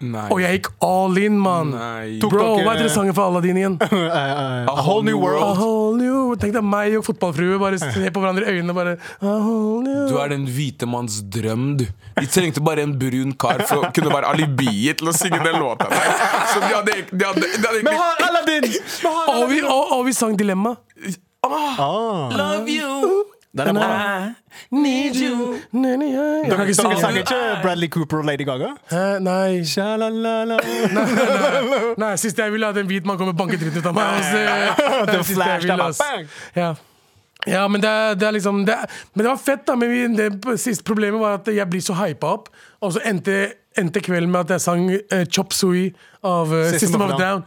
[SPEAKER 3] Nei.
[SPEAKER 2] og jeg gikk all in, mann!
[SPEAKER 3] Nei.
[SPEAKER 2] Bro,
[SPEAKER 4] dere-
[SPEAKER 2] hva heter sangen for Aladdin igjen?
[SPEAKER 3] A whole new
[SPEAKER 2] A
[SPEAKER 3] world.
[SPEAKER 2] whole new Tenk deg meg og fotballfrue bare se på hverandre i øynene og bare A whole new
[SPEAKER 3] Du er den hvite manns drøm, du. De trengte bare en brun kar for å kunne være alibiet til å synge den låta. der. Så de hadde, de hadde, de hadde
[SPEAKER 4] Vi
[SPEAKER 3] egentlig
[SPEAKER 4] har Aladdin! Vi har
[SPEAKER 2] og, vi, og, og vi sang Dilemma.
[SPEAKER 3] Love you!
[SPEAKER 4] Ah. Den er bra.
[SPEAKER 2] Need you Dere kan ikke
[SPEAKER 4] Dere
[SPEAKER 2] synge
[SPEAKER 4] sang ikke Bradley Cooper og Lady Gaga?
[SPEAKER 2] Hæ? Eh, Nei.
[SPEAKER 4] Sjalalala.
[SPEAKER 2] Nei, sist jeg ville at en hvit mann kom og banket dritten ut av meg. ass.
[SPEAKER 4] The
[SPEAKER 2] Det siste jeg
[SPEAKER 4] Flash,
[SPEAKER 2] ville,
[SPEAKER 4] da bare
[SPEAKER 2] ass.
[SPEAKER 4] bang!
[SPEAKER 2] Ja. ja, men det er, det er liksom det er, Men det var fett, da. Men vi, det siste problemet var at jeg blir så hypa opp. Og så endte, endte kvelden med at jeg sang eh, Chop Sui av eh,
[SPEAKER 4] System
[SPEAKER 2] System
[SPEAKER 4] of
[SPEAKER 2] of
[SPEAKER 4] a
[SPEAKER 2] a Down.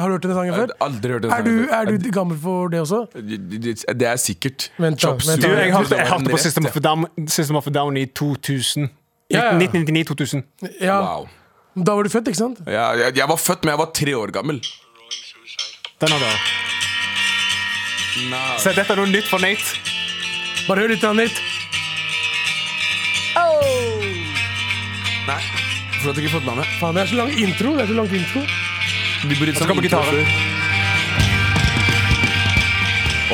[SPEAKER 2] Har du hørt den sangen før?
[SPEAKER 3] Jeg har aldri hørt den
[SPEAKER 2] Er du,
[SPEAKER 3] sangen før.
[SPEAKER 2] er du gammel for det også?
[SPEAKER 3] Det er sikkert.
[SPEAKER 2] Vent da,
[SPEAKER 3] Chop
[SPEAKER 2] vent da.
[SPEAKER 3] suey.
[SPEAKER 4] Du, jeg hørte, jeg hørte på
[SPEAKER 3] Rett.
[SPEAKER 4] System of a Down, System of a Down i 2000.
[SPEAKER 2] Ja, ja.
[SPEAKER 4] 1999-2000.
[SPEAKER 2] Ja.
[SPEAKER 3] Wow.
[SPEAKER 2] Da var du født, ikke sant?
[SPEAKER 3] Ja, jeg, jeg var født, men jeg var tre år gammel.
[SPEAKER 4] Den hadde jeg. Se, dette er noe nytt for Nate.
[SPEAKER 2] Bare hør litt av nytt.
[SPEAKER 3] Nei. For at du ikke fått med meg.
[SPEAKER 2] Faen, det er så lang intro. Det er så lang intro.
[SPEAKER 3] Vi burde
[SPEAKER 4] så kommer gitaren.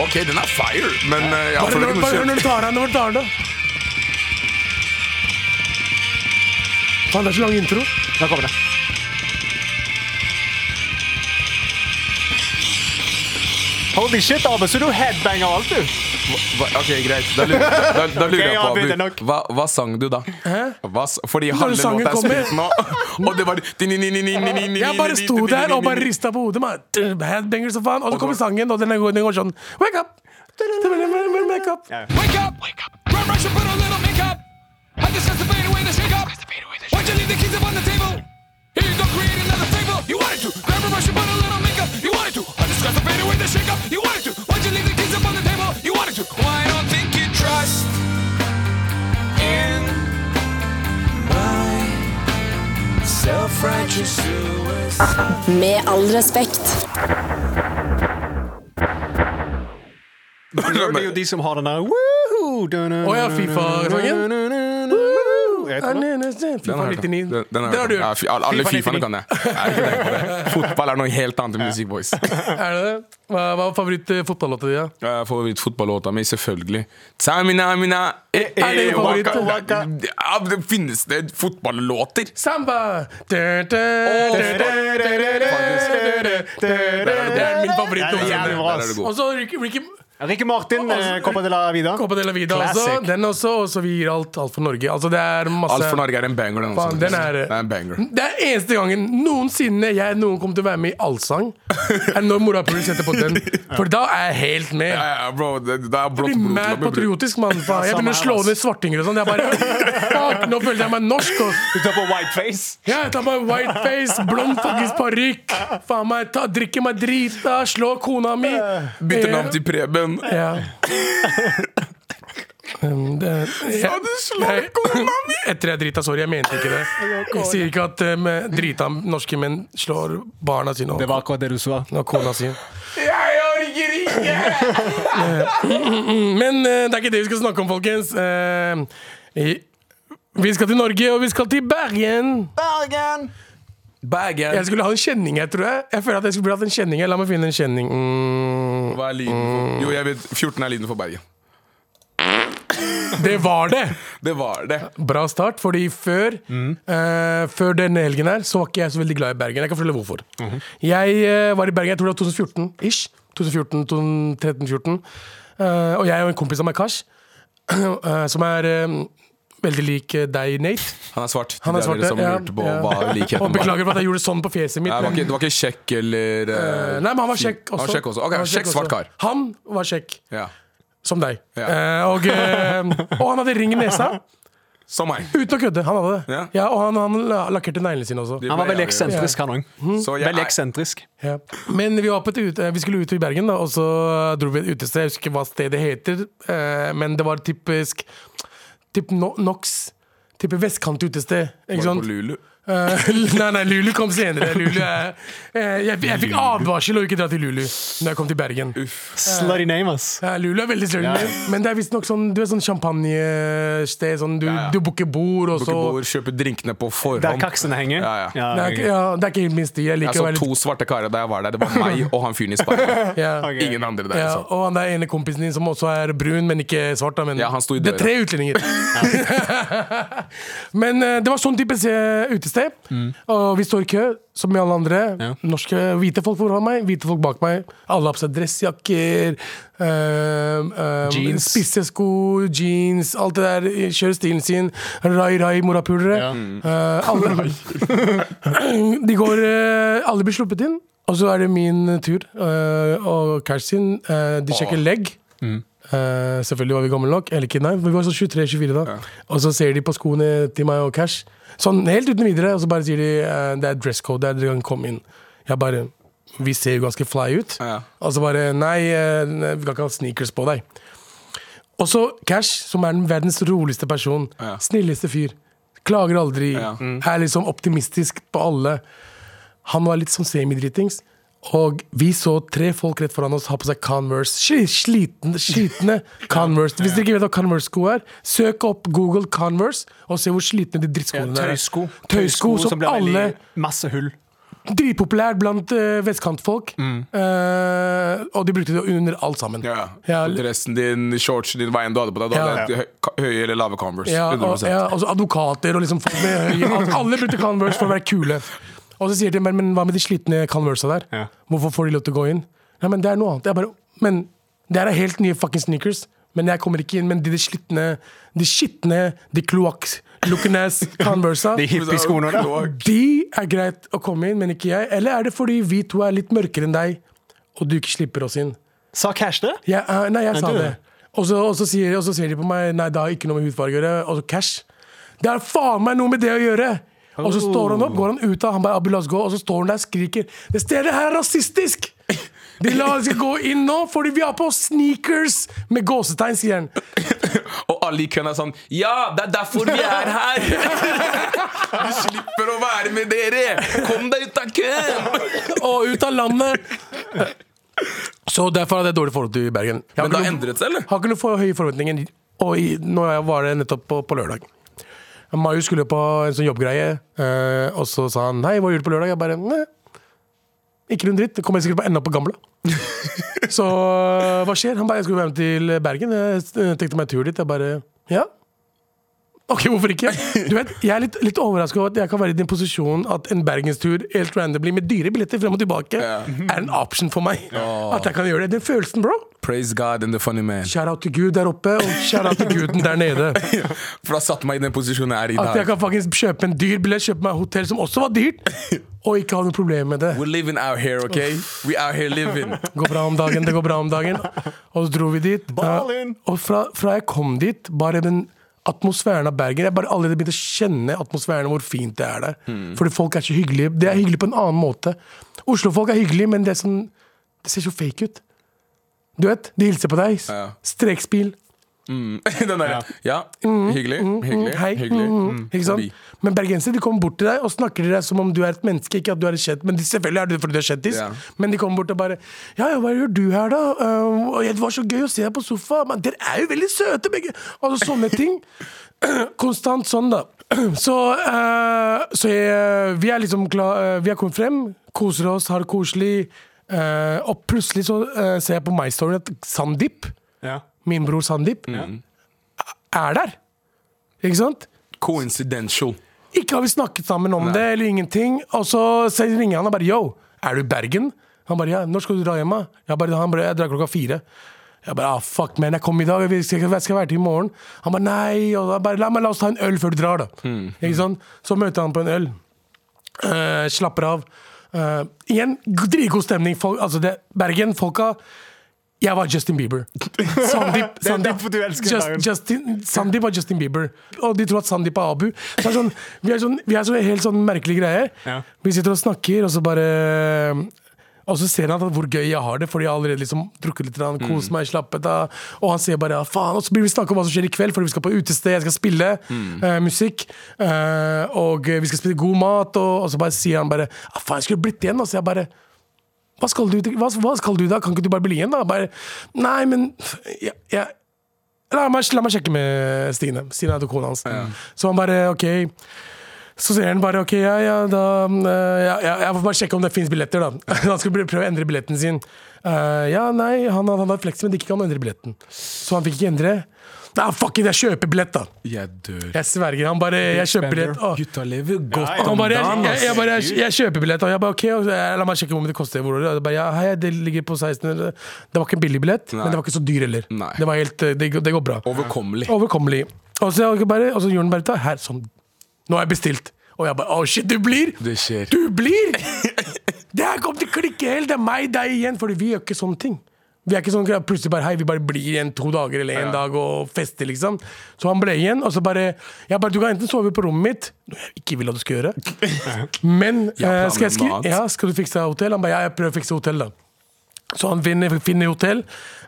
[SPEAKER 3] OK, den er fire, men eh, jeg
[SPEAKER 2] Bare,
[SPEAKER 3] føler
[SPEAKER 2] bare,
[SPEAKER 3] ikke
[SPEAKER 2] bare
[SPEAKER 3] noe
[SPEAKER 2] hør når
[SPEAKER 3] kjøtt.
[SPEAKER 2] du tar den. Når du tar den da. Faen, det er så lang intro.
[SPEAKER 4] Nå kommer det. Holy shit, Abe, så du headbanger alt, du.
[SPEAKER 3] Hva- OK, greit. Da lurer, da, da lurer
[SPEAKER 4] Ok,
[SPEAKER 3] jeg
[SPEAKER 4] ja, det er
[SPEAKER 3] på,
[SPEAKER 4] nok.
[SPEAKER 3] Abu, hva, hva sang du da? Hva, s- fordi
[SPEAKER 2] Når
[SPEAKER 3] halve
[SPEAKER 2] sangen
[SPEAKER 3] låta er
[SPEAKER 2] kommer.
[SPEAKER 3] spilt nå, og det var Jeg
[SPEAKER 2] Jeg bare sto der og bare rista på hodet. Man. Headbanger som faen. Og så kommer sangen, og den går, den går sånn Wake up! Wake up.
[SPEAKER 9] Wake up! Wake up! Run, rush, and put on a little makeup. I just have to fade away the shake up. Why'd you leave the keys up on the table? Here you go, create another fable. You wanted to. Grab a brush and put a little makeup. You wanted to. I just got to fade away the shake up. You wanted to. Why'd you leave the keys up on the table? You wanted to. Why don't think you trust in my self-righteous suicide?
[SPEAKER 8] Med all respekt.
[SPEAKER 4] Blur det er jo de som har den der woohoo
[SPEAKER 2] Å ja, FIFA-sangen?
[SPEAKER 4] Jeg
[SPEAKER 3] Den
[SPEAKER 4] vet ikke.
[SPEAKER 2] FIFA
[SPEAKER 3] har jeg hørt.
[SPEAKER 2] 99.
[SPEAKER 3] Den- den har
[SPEAKER 2] Det har du
[SPEAKER 3] jeg hørt.
[SPEAKER 2] gjort.
[SPEAKER 3] Ja, fi- alle
[SPEAKER 2] FIFA
[SPEAKER 3] Fifaene kan jeg. Jeg er ikke tenkt på det. Fotball er noe helt annet enn Music Boys.
[SPEAKER 2] Er det det? Hva hva var favoritt-fotballåta di? da?
[SPEAKER 3] Eh, Favorittfotballåta mi, selvfølgelig. Tamina, mina, eh, eh,
[SPEAKER 2] Er det jo
[SPEAKER 3] waka,
[SPEAKER 2] favoritten?
[SPEAKER 3] waka. Ja, men det finnes det fotballåter?
[SPEAKER 2] Samba! Du, du, du, du, du, du, du, du. Det er min favoritt.
[SPEAKER 4] Det er
[SPEAKER 2] noensinne.
[SPEAKER 4] jævlig bra, ass.
[SPEAKER 3] Der er du god.
[SPEAKER 2] Og så Ricky, Ricky
[SPEAKER 4] Ricky Martin, eh, Copa de la Vida.
[SPEAKER 2] Copa de la Vida
[SPEAKER 4] Classic.
[SPEAKER 2] også. Den også, og så vi gir alt, alt for Norge. Altså det er masse
[SPEAKER 3] Alt for Norge er en banger, den også.
[SPEAKER 2] Faen, den er, Hm?
[SPEAKER 3] Det er en banger.
[SPEAKER 2] Det er eneste gangen noensinne jeg noen kom til å være med i Allsang, er når mora puli setter på den. For da er jeg helt med.
[SPEAKER 3] Ja, ja, bro, det, det er
[SPEAKER 2] Jeg
[SPEAKER 3] blått
[SPEAKER 2] blir
[SPEAKER 3] blod
[SPEAKER 2] mad
[SPEAKER 3] til å bli brukt.
[SPEAKER 2] patriotisk, mann. faen. Jeg begynner å slå ned svartinger og sånn. Jeg bare Fuck, nå føler jeg meg norsk. ass.
[SPEAKER 4] Du tar på whiteface.
[SPEAKER 2] Ja, jeg tar meg whiteface, blond fuckings parykk. Faen meg, ta, drikker meg drita, slår kona mi.
[SPEAKER 3] Bytter navn til Preben.
[SPEAKER 2] Ja. Um, det, jeg,
[SPEAKER 3] du slår kona mi!
[SPEAKER 2] Etter jeg drita, sorry, jeg mente ikke det. Jeg sier ikke at um, drita norske menn slår barna sine
[SPEAKER 4] Det
[SPEAKER 2] og,
[SPEAKER 4] var akkurat det du sa.
[SPEAKER 2] og kona si.
[SPEAKER 3] Jeg orker ikke!
[SPEAKER 2] Men eh, det er ikke det vi skal snakke om, folkens. Eh, i, vi skal til Norge, og vi skal til Bergen.
[SPEAKER 4] Bergen!
[SPEAKER 3] Bagen.
[SPEAKER 2] Jeg skulle ha en kjenning her, tror jeg. Jeg føler at jeg skulle hatt en kjenning her. La meg finne en kjenning. Mm,
[SPEAKER 3] Hva er lyden for Jo, jeg vet. 14 er lyden for Bergen.
[SPEAKER 2] det var det!
[SPEAKER 3] Det var det.
[SPEAKER 2] Bra start, fordi før, eh, før denne helgen her, så var ikke jeg så veldig glad i Bergen. Jeg kan fortelle hvorfor. Jeg eh, var i Bergen, jeg tror det var 2014-ish. 2014-2013-14. Eh, og jeg og en kompis av meg, Kars, eh, som er eh, veldig lik eh, deg, Nate.
[SPEAKER 3] Han er svart.
[SPEAKER 2] Han er
[SPEAKER 3] det er
[SPEAKER 2] svart.
[SPEAKER 3] dere som
[SPEAKER 2] ja,
[SPEAKER 3] lurte på
[SPEAKER 2] ja.
[SPEAKER 3] hva
[SPEAKER 2] Og
[SPEAKER 3] likheten var.
[SPEAKER 2] beklager for at jeg gjorde sånn på fjeset mitt.
[SPEAKER 3] Nei, det, var
[SPEAKER 2] men-
[SPEAKER 3] ikke, det var ikke kjekk eller eh,
[SPEAKER 2] Eh, Nei, men han var
[SPEAKER 3] fin.
[SPEAKER 2] kjekk også.
[SPEAKER 3] Han var kjekk også. Ok,
[SPEAKER 2] Han var
[SPEAKER 3] kjekk svart
[SPEAKER 2] også.
[SPEAKER 3] kar.
[SPEAKER 2] Han var kjekk,
[SPEAKER 3] Ja.
[SPEAKER 2] som deg.
[SPEAKER 3] Ja.
[SPEAKER 2] Eh, og, eh, og han hadde ring i nesa.
[SPEAKER 3] Som meg.
[SPEAKER 2] Uten å kødde. Han hadde det.
[SPEAKER 3] Ja.
[SPEAKER 2] og han, han la- lakkerte neglene sine også.
[SPEAKER 4] Han var veldig eksentrisk, han òg.
[SPEAKER 3] Så jeg
[SPEAKER 4] Veldig
[SPEAKER 3] er
[SPEAKER 4] eksentrisk.
[SPEAKER 2] Ja. Men vi, var på et ute, vi skulle ut i Bergen, da, og så dro vi et utested. Jeg husker ikke hva stedet heter, eh, men det var typisk Typ no Nox. Type vestkantutested. Ikke
[SPEAKER 3] Var det på
[SPEAKER 2] sant?
[SPEAKER 3] Lulu.
[SPEAKER 2] Eh, nei, nei, Lulu kom senere. Lulu er, eh, jeg, jeg fikk advarsel om ikke dra til Lulu når jeg kom til Bergen.
[SPEAKER 4] Slutty name, ass.
[SPEAKER 2] Ja, Lulu er veldig strømlig,
[SPEAKER 4] Ja.
[SPEAKER 2] men det er visstnok sånn, du er sånn champagnested. Sånn, du,
[SPEAKER 3] Ja, ja.
[SPEAKER 2] du booker bord, og
[SPEAKER 3] Booker
[SPEAKER 2] så
[SPEAKER 3] bord, kjøper drinkene på forhånd.
[SPEAKER 4] Der kaksene henger.
[SPEAKER 3] Ja, ja.
[SPEAKER 2] det er, ikke- ja, det er ikke helt min stil. Jeg
[SPEAKER 3] Jeg
[SPEAKER 2] liker å
[SPEAKER 3] så
[SPEAKER 2] være litt
[SPEAKER 3] to svarte karer da jeg var der. Det var meg og han fyren i Spania.
[SPEAKER 2] ja.
[SPEAKER 4] Ok.
[SPEAKER 3] Ingen andre der.
[SPEAKER 2] Ja,
[SPEAKER 3] altså.
[SPEAKER 2] og han der ene kompisen din som også er brun, men ikke svart. Da, men
[SPEAKER 3] Ja, han sto i
[SPEAKER 2] det er
[SPEAKER 3] døra.
[SPEAKER 2] tre utlendinger. men eh, det var sånn type eh, sted,
[SPEAKER 3] Mm.
[SPEAKER 2] og vi står i kø, som med alle andre.
[SPEAKER 4] Ja.
[SPEAKER 2] Norske, Hvite folk foran meg, hvite folk bak meg. Alle har på seg dressjakker, øhm, øhm,
[SPEAKER 4] Jeans.
[SPEAKER 2] spisse sko, jeans, alt det der. Kjører stilen sin. Rai-rai morapulere.
[SPEAKER 4] Ja.
[SPEAKER 2] Øh, alle, de går eh, Alle blir sluppet inn, og så er det min tur eh, og Cash sin. Eh, de sjekker legg. Eh, selvfølgelig var vi gamle nok. Eller ikke, nei, vi var sånn 23-24 da. Og så ser de på skoene til meg og Cash, sånn helt uten videre, og så bare sier de eh, det er dress code, det er dere kan komme inn. Jeg bare Vi ser jo ganske fly ut.
[SPEAKER 3] Ja.
[SPEAKER 2] Og så bare Nei, eh, nei, vi kan ikke ha sneakers på deg. Og så Cash, som er den verdens roligste person.
[SPEAKER 3] Ja.
[SPEAKER 2] Snilleste fyr. Klager aldri.
[SPEAKER 3] Ja.
[SPEAKER 2] Er liksom optimistisk på alle. Han var litt sånn semidritings. Og vi så tre folk rett foran oss ha på seg Converse. Sli- Slitne, slitne Converse. Hvis dere ikke vet hva Converse-sko er, søk opp Google Converse og se hvor slitne de drittskoene der er.
[SPEAKER 4] Tøysko.
[SPEAKER 2] Tøysko som
[SPEAKER 4] blir veldig-
[SPEAKER 2] alle
[SPEAKER 4] Masse hull.
[SPEAKER 2] Dritpopulær blant eh, vestkantfolk.
[SPEAKER 4] Mm.
[SPEAKER 2] Eh, og de brukte det under alt sammen.
[SPEAKER 3] Ja.
[SPEAKER 2] Ja,
[SPEAKER 3] Dressen din, shortsen din, hva enn du hadde på deg. Du
[SPEAKER 2] Ja.
[SPEAKER 3] hadde hø- høye eller lave Converse.
[SPEAKER 2] Ja, og,
[SPEAKER 3] 100%.
[SPEAKER 2] ja, og så advokater og liksom folk med høye al- Alle brukte Converse for å være kule. Og så sier de, men, men hva med de slitne Conversa der?
[SPEAKER 4] Ja.
[SPEAKER 2] Hvorfor får de lov til å gå inn? Nei, men det er noe annet. Jeg bare, men det her er helt nye fucking sneakers. Men jeg kommer ikke inn. Men de, de slitne, de skitne, de kloakk-looking ass Conversa,
[SPEAKER 4] De hippieskoene der.
[SPEAKER 2] de er greit å komme inn, men ikke jeg. Eller er det fordi vi to er litt mørkere enn deg, og du ikke slipper oss inn?
[SPEAKER 4] Sa Cash det?
[SPEAKER 2] Jeg, eh, nei, jeg
[SPEAKER 4] Nei,
[SPEAKER 2] sa
[SPEAKER 4] du-
[SPEAKER 2] det. Og så, og, så sier, og så sier de på meg Nei, det har ikke noe med hudfarge å gjøre. Og så cash. Det har faen meg noe med det å gjøre! Og så står han opp, går han ut av Han bare, Abu, la oss gå. Og så står han der og skriker. Det stedet her er rasistisk! De la oss ikke gå inn nå, fordi vi har på sneakers! Med gåsetegn, sier han.
[SPEAKER 3] Og alle i køen er sånn Ja, det er derfor vi er her! Vi slipper å være med dere! Kom deg ut av køen!
[SPEAKER 2] Og ut av landet! Så derfor hadde jeg dårlig forhold til Bergen. Jeg har
[SPEAKER 3] Men det har
[SPEAKER 2] ikke noe-
[SPEAKER 3] endret seg, eller?
[SPEAKER 2] Har ikke noe for høye forventninger. Og i, nå var det nettopp på, på lørdag. Mayu skulle på en sånn jobbgreie, eh, og så sa han 'Hei, hva gjør du på lørdag?' Jeg bare Nei. Ikke noen dritt. Det kommer jeg sikkert på enda på gamla. så eh, hva skjer? Han bare 'Jeg skulle være med til Bergen'. Jeg eh, tenkte meg en tur dit. Jeg bare Ja. Ok, hvorfor ikke? Du vet, Jeg er litt, litt overraska over at jeg kan være i din posisjon at en bergenstur helt randomly med dyre billetter frem og tilbake er en option for meg. At jeg kan gjøre det. Den følelsen, bro.
[SPEAKER 3] Praise God and the funny man.
[SPEAKER 2] Shout out til Gud der oppe, og shout out til guden der nede.
[SPEAKER 3] For det har satt meg i den posisjonen jeg er i
[SPEAKER 2] At jeg
[SPEAKER 3] dag.
[SPEAKER 2] kan faktisk kjøpe en dyr billett, kjøpe meg hotell som også var dyrt, og ikke ha noe problem med det.
[SPEAKER 3] We're living out here, ok? We out here living.
[SPEAKER 2] Det går bra om dagen, det går bra om dagen. Og så dro vi dit.
[SPEAKER 4] Berlin!
[SPEAKER 2] Ja, Og fra, fra jeg kom dit, bare den atmosfæren av Bergen Jeg bare allerede begynte å kjenne atmosfæren og hvor fint det er der. Fordi folk er så hyggelige. Det er hyggelig på en annen måte. Oslofolk er hyggelige, men det, er sånn, det ser så fake ut. Du vet, de hilser på deg.
[SPEAKER 3] Ja.
[SPEAKER 2] Strekspil.
[SPEAKER 3] Den der, ja,
[SPEAKER 2] Mm.
[SPEAKER 3] hyggelig, hyggelig,
[SPEAKER 2] Hei.
[SPEAKER 3] hyggelig.
[SPEAKER 2] Mm, ikke
[SPEAKER 3] Forbi.
[SPEAKER 2] sant? Men bergensere de kommer bort til deg og snakker til deg som om du er et menneske. Ikke at du er et kjent, men de, Selvfølgelig er det fordi du er kjentis,
[SPEAKER 3] Ja.
[SPEAKER 2] men de kommer bort og bare 'Ja, ja, hva gjør du her, da?' «Eh, og 'Det var så gøy å se deg på sofa.' Men dere er jo veldig søte, begge. Altså sånne ting. Konstant sånn, da. Så, eh, så jeg, vi er liksom klar, eh, Vi er kommet frem, koser oss, har det koselig. eh, og plutselig så eh, ser jeg på My Story at Sandeep,
[SPEAKER 4] Ja.
[SPEAKER 2] min bror Sandeep,
[SPEAKER 3] Mm.
[SPEAKER 2] er der. Ikke sant?
[SPEAKER 3] Coincidental.
[SPEAKER 2] Ikke har vi snakket sammen om det, eller ingenting. Og så så ringer han og bare Yo, er du i Bergen? Han bare ja, når skal du dra hjem? da?» Jeg bare, han bare, jeg drar klokka fire. Jeg bare ah, fuck man, jeg kom i dag, jeg skal, jeg skal være til i morgen. Han bare nei, og da bare, la, meg, la oss ta en øl før du drar, da. Ikke sant? Så møter han på en øl. Eh, slapper av. Eh, igjen, g- dritgod stemning. Folk, altså det, Bergen, folka Jeg var Justin Bieber. Sandeep
[SPEAKER 4] Det er
[SPEAKER 2] Sandeep-
[SPEAKER 4] derfor du elsker Bergen.
[SPEAKER 2] Justin, Sandeep var Justin Bieber. Og de tror at Sandeep er Abu. Så det er sånn, vi er sånn, vi er så helt sånn merkelige greier.
[SPEAKER 4] Ja.
[SPEAKER 2] Vi sitter og snakker, og så bare og så ser han at hvor gøy jeg har det, fordi jeg har allerede liksom drukket litt, grann,
[SPEAKER 4] Mm.
[SPEAKER 2] kost meg, slappet av. Og han sier bare ja, faen. Og så blir vi snakket om hva som skjer i kveld, fordi vi skal på utested, jeg skal spille
[SPEAKER 4] Mm.
[SPEAKER 2] eh, musikk. eh, og vi skal spille god mat, og, og så bare sier han bare ja, faen, jeg skulle blitt igjen. Og så jeg bare hva skal, du, til- hva, hva skal du da? Kan ikke du bare bli igjen, da? Bare, nei, men jeg, jeg, la, meg, la meg sjekke med Stine. Stine er til kona hans. Så han bare OK. Så sier han bare OK, ja, ja, da mm, eh, ja, ja, Jeg må bare sjekke om det fins billetter, da. Han skulle prøve å endre billetten sin. Eh, ja, nei, han, han hadde fleksi, men det gikk ikke an å endre billetten. Så han fikk ikke endre. Nei, fuck it, jeg kjøper billett, da!
[SPEAKER 3] Jeg dør.
[SPEAKER 2] Jeg sverger. Han bare Jeg kjøper billett. Å.
[SPEAKER 3] Gutta lever godt
[SPEAKER 2] Og han
[SPEAKER 3] om
[SPEAKER 2] bare, jeg,
[SPEAKER 3] dagen, altså.
[SPEAKER 2] jeg, jeg,
[SPEAKER 3] ass.
[SPEAKER 2] bare, jeg, jeg kjøper billett, og jeg bare OK, og så, eh, la meg sjekke hvor mye det koster. Hvor, og jeg bare, ja, hei, det ligger på 1600. Det var ikke en billig billett,
[SPEAKER 3] Nei.
[SPEAKER 2] men det var ikke så dyr heller.
[SPEAKER 3] Nei.
[SPEAKER 2] Det, var helt, eh, det, går- det går bra.
[SPEAKER 3] Overkommelig.
[SPEAKER 2] Overkommelig. Og så, jeg bare, og så gjorde han bare ta her, sånn. Nå har jeg bestilt. Og jeg bare Å, shit, du blir!
[SPEAKER 3] Det skjer.
[SPEAKER 2] Du blir! Det her kommer til å klikke helt. Det er meg, deg igjen. Fordi vi gjør ikke sånne ting. Vi er ikke sånn plutselig bare Hei, vi bare blir igjen to dager eller en dag og fester, liksom. Så han ble igjen, og så bare Jeg bare Du kan enten sove på rommet mitt, noe jeg ikke vil at du skal gjøre, men eh,
[SPEAKER 3] planer
[SPEAKER 2] skal, jeg
[SPEAKER 3] om noe
[SPEAKER 2] skri
[SPEAKER 3] annet.
[SPEAKER 2] ja, skal du fikse hotell? Han bare Ja, jeg prøver å fikse hotell, da. Så han vinner, finner hotell,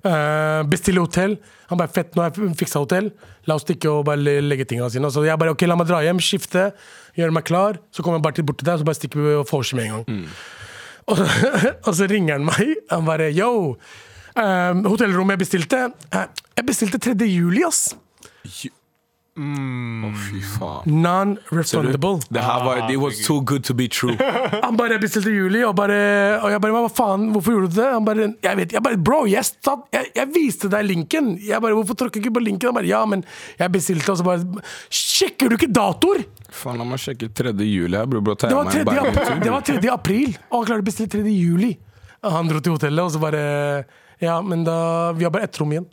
[SPEAKER 2] eh, bestiller hotell. Han bare 'fett, nå har jeg fiksa hotell', la oss stikke og bare le- legge tingene sine. Så jeg bare 'ok, la meg dra hjem, skifte, gjøre meg klar', så kommer jeg bare til bort til deg, så bare stikker vi og vorser med en gang.
[SPEAKER 3] Mm.
[SPEAKER 2] Og, så, og så ringer han meg. Han bare 'yo, eh, hotellrommet jeg bestilte eh, Jeg bestilte 3. juli, ass.
[SPEAKER 3] Ju-
[SPEAKER 2] Mm.
[SPEAKER 3] Å, fy faen. Ser du?
[SPEAKER 2] Non-refundable.
[SPEAKER 3] Det her var
[SPEAKER 2] Ah,
[SPEAKER 3] It was too good to be true.
[SPEAKER 2] Han bare jeg bestilte juli, og, bare, og jeg bare Hva faen, hvorfor gjorde du det? Han bare Jeg vet Jeg bare Bro, jeg, satt, jeg, jeg viste deg linken. Jeg bare Hvorfor tråkker du ikke på linken? Han bare Ja, men jeg bestilte, og så bare Sjekker du ikke datoer?!
[SPEAKER 3] Faen, la meg sjekke 3. juli her, bror.
[SPEAKER 2] Det var 3. april! Det var 3. april og han klarte å bestille 3. juli. Og han dro til hotellet, og så bare Ja, men da Vi har bare ett rom igjen.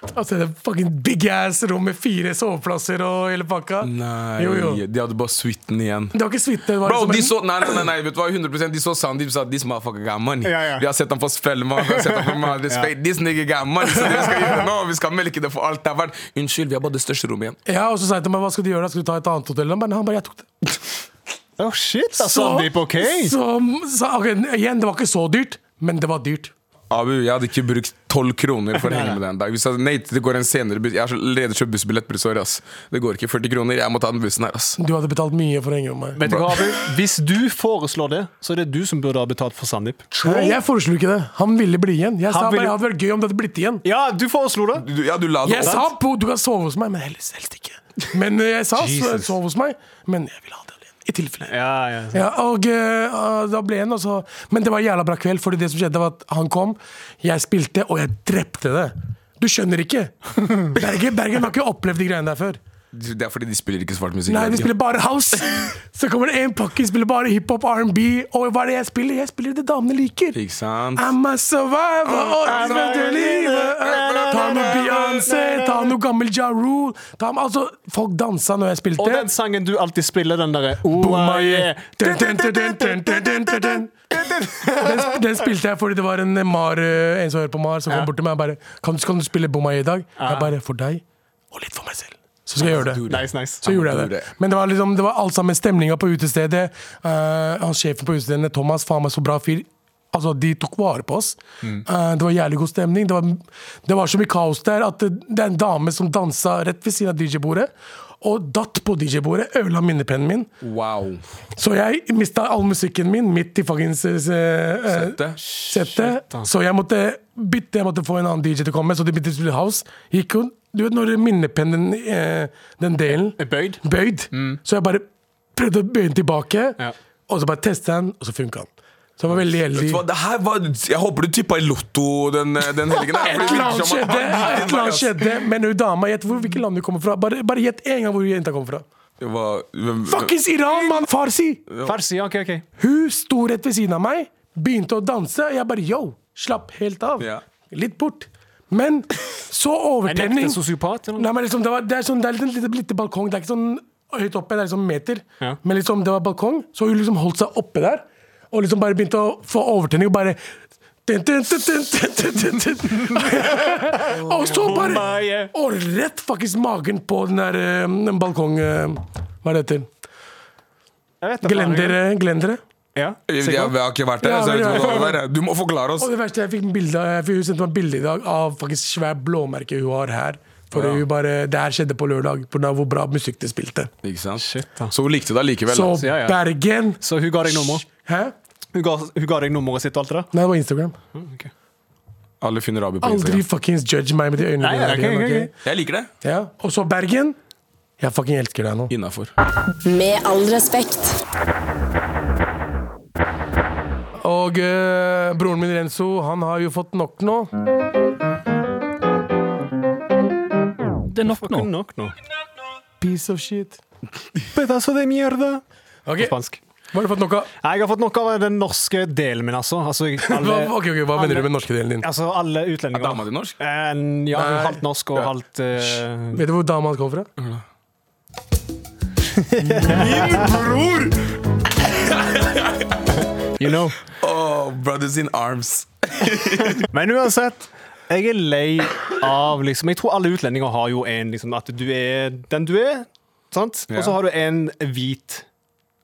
[SPEAKER 2] Altså, det er fucking big ass rom med fire soveplasser og hele pakka.
[SPEAKER 3] Nei,
[SPEAKER 2] Jo, jo.
[SPEAKER 3] de hadde bare suiten igjen.
[SPEAKER 2] Det var ikke suite. det var
[SPEAKER 3] Bro,
[SPEAKER 2] liksom
[SPEAKER 3] de
[SPEAKER 2] en-
[SPEAKER 3] så Nei, nei, nei, nei vet du hva? 100 de så Sandeep sa This motherfucker got money.
[SPEAKER 4] Ja, ja.
[SPEAKER 3] Vi har sett ham på Spellemann, vi har sett ham på Mad Respect. This nigga got money. Så det vi skal gjøre nå, vi skal melke det for alt det er verdt. Unnskyld, vi har bare det største rommet igjen.
[SPEAKER 2] Ja, og så sa jeg til meg, hva skal du gjøre da? Skal du ta et annet hotell? Han bare, han bare jeg tok det.
[SPEAKER 4] Oh shit, da, Sandeep, ok!
[SPEAKER 2] så, så, ok, igjen, det var ikke så dyrt, men det var dyrt.
[SPEAKER 3] Abu, jeg hadde ikke brukt 12 kroner for å henge med deg en dag. Hvis jeg hadde, nei, det går en senere buss Jeg har allerede kjøpt bussbillett, bror, sorry, ass. Det går ikke 40 kroner. Jeg må ta den bussen her, ass.
[SPEAKER 2] Du hadde betalt mye for å henge med meg.
[SPEAKER 4] Vet du hva, Abu? Hvis du foreslår det, så er det du som burde ha betalt for Sandeep.
[SPEAKER 2] Nei, jeg foreslo ikke det. Han ville bli igjen. Jeg sa
[SPEAKER 4] Han ville-
[SPEAKER 2] bare, det hadde vært gøy om det hadde blitt igjen.
[SPEAKER 4] Ja, du foreslo det!
[SPEAKER 3] Du, ja, du la det
[SPEAKER 2] Jeg
[SPEAKER 3] opp.
[SPEAKER 2] sa på, du kan sove hos meg, men helst, helst ikke. Men eh, jeg sa så-
[SPEAKER 4] Jesus.
[SPEAKER 2] sov hos meg, men jeg vil ha det alene. I tilfelle.
[SPEAKER 4] Ja, ja.
[SPEAKER 2] Ja, og eh, eh, da ble han også Men det var en jævla bra kveld, Fordi det som skjedde var at han kom, jeg spilte, og jeg drepte det. Du skjønner ikke! Bergen, Bergen har ikke opplevd de greiene der før.
[SPEAKER 3] Det er fordi de spiller ikke svart musikk.
[SPEAKER 2] Nei, vi spiller bare house. Så kommer det én pakke, vi spiller bare hiphop, R&B. Og hva er det jeg spiller? Jeg spiller det damene liker.
[SPEAKER 3] Ikke sant?
[SPEAKER 2] I'm a survivor, og du vet det livet. Ta noe Beyoncé, ta noe gammel Ja Rule. Ta, altså, folk dansa når jeg
[SPEAKER 4] Og den
[SPEAKER 2] spilte.
[SPEAKER 4] sangen du alltid spiller, den derre oh,
[SPEAKER 2] Boom, ah,
[SPEAKER 4] yeah.
[SPEAKER 2] yeah. Dun, dun, dun, dun, dun, dun, dun, dun, dun. Den, sp- den spilte jeg fordi det var en Mar eh, En som hører på Mar, som kom bort til meg og bare kan du, 'Kan du spille Bomaye i dag?' Jeg bare 'For deg, og litt for meg selv'. Så skal jeg gjøre det.
[SPEAKER 4] Nice, nice.
[SPEAKER 2] Så gjorde jeg det. Men det var, liksom, det var alt sammen stemninga på utestedet. eh, han sjefen på utestedet, Thomas, faen meg så bra fyr. Altså, De tok vare på oss. Eh, det var jævlig god stemning. Det var, det var så mye kaos der at det, det er en dame som dansa rett ved siden av DJ-bordet. Og datt på DJ-bordet. Ødela minnepennen min.
[SPEAKER 3] Wow.
[SPEAKER 2] Så jeg mista all musikken min midt i fuckings eh, eh,
[SPEAKER 3] Det.
[SPEAKER 2] settet. Så jeg måtte bytte, jeg måtte få en annen DJ til å komme. Så de begynte å spille house. Gikk jo, du vet når minnepennen, eh, den delen
[SPEAKER 4] Er bøyd?
[SPEAKER 2] Bøyd.
[SPEAKER 3] Mm.
[SPEAKER 2] Så jeg bare prøvde å bøye den tilbake,
[SPEAKER 4] Ja.
[SPEAKER 2] og så bare teste den, og så funka den. Så jeg var veldig heldig.
[SPEAKER 3] Vet du hva, det her var Jeg håper du tippa i Lotto den, den helgen. her, for
[SPEAKER 2] Et eller
[SPEAKER 3] det virker
[SPEAKER 2] annet
[SPEAKER 3] som at-
[SPEAKER 2] skjedde, et eller annet skjedde men hun dama, gjett hvor- hvilket land hun kommer fra. Bare, bare gjett én gang hvor jenta kommer fra.
[SPEAKER 3] Det var- hvem-
[SPEAKER 2] Fuckings Iran, mann! Farsi!
[SPEAKER 4] Farsi, ja, ok, ok.
[SPEAKER 2] Hun sto rett ved siden av meg, begynte å danse. og Jeg bare yo, slapp helt av.
[SPEAKER 3] Ja.
[SPEAKER 2] Litt bort. Men så
[SPEAKER 4] En
[SPEAKER 2] overtenning.
[SPEAKER 4] ekte sosiopat? Eller?
[SPEAKER 2] Nei, men liksom, det, var, det er sånn, det er litt en liten, liten balkong. Det er ikke sånn høyt oppe, det er liksom meter.
[SPEAKER 4] Ja.
[SPEAKER 2] Men liksom, det var balkong, så hun liksom holdt seg oppe der. Og liksom bare begynte å få overtenning og bare Dun, dun, dun, dun, dun, dun, dun, dun. Og så
[SPEAKER 4] Oh
[SPEAKER 2] bare Og rett faktisk magen på den der eh, den balkong... eh, Hva er det heter?
[SPEAKER 4] Jeg vet da faen,
[SPEAKER 2] Glendere?
[SPEAKER 4] jeg-
[SPEAKER 2] glendere.
[SPEAKER 4] Ja,
[SPEAKER 3] Jeg, jeg,
[SPEAKER 4] sikkert.
[SPEAKER 3] har ikke vært der, så jeg vet ikke hva det var. Du må forklare oss.
[SPEAKER 2] Og det verste, jeg fikk en bilde av jeg fikk- Hun sendte meg et bilde i dag av faktisk svært blåmerke hun har her. For
[SPEAKER 3] Ja.
[SPEAKER 2] hun bare, Det her skjedde på lørdag pga. hvor bra musikk de spilte.
[SPEAKER 3] Ikke sant?
[SPEAKER 4] Shit, da.
[SPEAKER 3] Så hun likte det allikevel.
[SPEAKER 2] Så
[SPEAKER 3] altså.
[SPEAKER 4] ja, ja.
[SPEAKER 2] Bergen
[SPEAKER 4] Så hun ga deg nummeret?
[SPEAKER 2] Hæ?
[SPEAKER 4] Hun ga, hun ga deg nummeret sitt og alt det der?
[SPEAKER 2] Nei, det var Instagram.
[SPEAKER 4] Mm, Ok.
[SPEAKER 3] Alle finner Abu på
[SPEAKER 2] Aldri
[SPEAKER 3] Instagram.
[SPEAKER 2] fuckings judge meg med de øynene
[SPEAKER 4] Nei,
[SPEAKER 2] dine
[SPEAKER 4] ok,
[SPEAKER 2] igjen,
[SPEAKER 4] ok,
[SPEAKER 2] ok?
[SPEAKER 4] ok.
[SPEAKER 3] Jeg liker det.
[SPEAKER 2] Ja. Og så Bergen. Jeg fucking elsker deg nå.
[SPEAKER 3] Innafor.
[SPEAKER 8] Med all respekt.
[SPEAKER 2] Og eh, broren min Renzo, han har jo fått nok nå.
[SPEAKER 10] Det er nok nå.
[SPEAKER 4] Nok nå.
[SPEAKER 2] Piece of shit.
[SPEAKER 4] Pedazo de mierda.
[SPEAKER 2] Ok, Hva
[SPEAKER 4] Spansk.
[SPEAKER 2] har du fått nok av?
[SPEAKER 4] Nei, Jeg har fått nok av den norske delen min, altså. altså alle,
[SPEAKER 2] Hva, ok, ok, hva
[SPEAKER 4] alle-
[SPEAKER 2] mener du med den norske delen din?
[SPEAKER 4] Altså, alle
[SPEAKER 3] Er dama
[SPEAKER 4] utlendinger.
[SPEAKER 3] di norsk?
[SPEAKER 4] Eh, ja, hun er halvt norsk og
[SPEAKER 3] Ja.
[SPEAKER 4] halvt eh,
[SPEAKER 2] Vet du hvor dama hans kom fra?
[SPEAKER 4] Mm. You know.
[SPEAKER 3] Oh, brothers in arms.
[SPEAKER 4] Men uansett, jeg er lei av liksom Jeg tror alle utlendinger har jo en liksom At du er den du er, sant? Og så
[SPEAKER 3] Ja.
[SPEAKER 4] har du en hvit,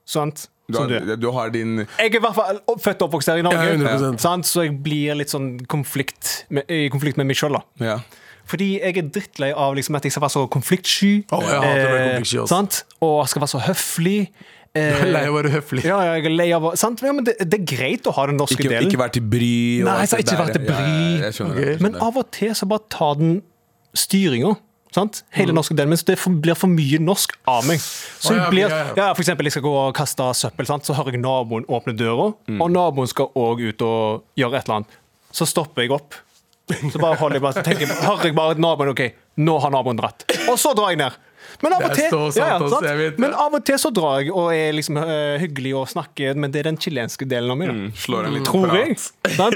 [SPEAKER 4] sant?
[SPEAKER 3] Du
[SPEAKER 4] Som
[SPEAKER 3] har,
[SPEAKER 4] du er.
[SPEAKER 3] du har din
[SPEAKER 4] Jeg er i hvert fall opp- født og oppvokst her i Norge,
[SPEAKER 2] Ja, 100%.
[SPEAKER 4] sant? så jeg blir litt sånn konflikt med, i konflikt med meg sjøl.
[SPEAKER 3] Ja.
[SPEAKER 4] Fordi jeg er drittlei av liksom, at jeg skal være så konfliktsky. eh,
[SPEAKER 2] Å, jeg hater å være konfliktsky, ass.
[SPEAKER 4] sant? Og skal være så høflig. Eh,
[SPEAKER 2] Jeg er Lei av å være høflig.
[SPEAKER 4] ja, ja, jeg er lei av å- sant? Ja, men det, det er greit å ha den norske
[SPEAKER 3] Ikke,
[SPEAKER 4] delen.
[SPEAKER 3] ikke vær til bry. og
[SPEAKER 4] Nei,
[SPEAKER 3] alt
[SPEAKER 4] så
[SPEAKER 3] det
[SPEAKER 4] ikke
[SPEAKER 3] der.
[SPEAKER 4] vær til
[SPEAKER 3] Ja, ja,
[SPEAKER 4] bry.
[SPEAKER 3] ja, Jeg skjønner,
[SPEAKER 2] Ok.
[SPEAKER 3] jeg
[SPEAKER 4] Men
[SPEAKER 3] skjønner.
[SPEAKER 4] av og til så bare ta den styringa. Sant? Hele norske delen min, så det for- blir for mye norsk av meg.
[SPEAKER 2] Mm.
[SPEAKER 4] Så
[SPEAKER 2] Å, ja,
[SPEAKER 4] jeg blir,
[SPEAKER 2] ja, ja.
[SPEAKER 4] ja, for eksempel, jeg skal gå og kaste søppel, sant? så hører jeg naboen åpne døra,
[SPEAKER 2] Mm.
[SPEAKER 4] og naboen skal òg ut og gjøre et eller annet. Så stopper jeg opp. Så bare holder jeg bare, så tenker, jeg- hører jeg bare at naboen OK, nå har naboen dratt. Og så drar jeg ned. Men av
[SPEAKER 2] Det
[SPEAKER 4] og
[SPEAKER 2] er
[SPEAKER 4] til,
[SPEAKER 2] så sant,
[SPEAKER 4] ja, ja,
[SPEAKER 2] ass, jeg vet
[SPEAKER 4] sant?
[SPEAKER 2] det.
[SPEAKER 4] Men av og til så drar jeg og er liksom øh, hyggelig og snakker, men det er den chilenske delen av meg.
[SPEAKER 2] Mm.
[SPEAKER 4] da.
[SPEAKER 3] Mm, Slår en liten
[SPEAKER 4] Tror jeg.
[SPEAKER 3] prat.
[SPEAKER 4] Sant?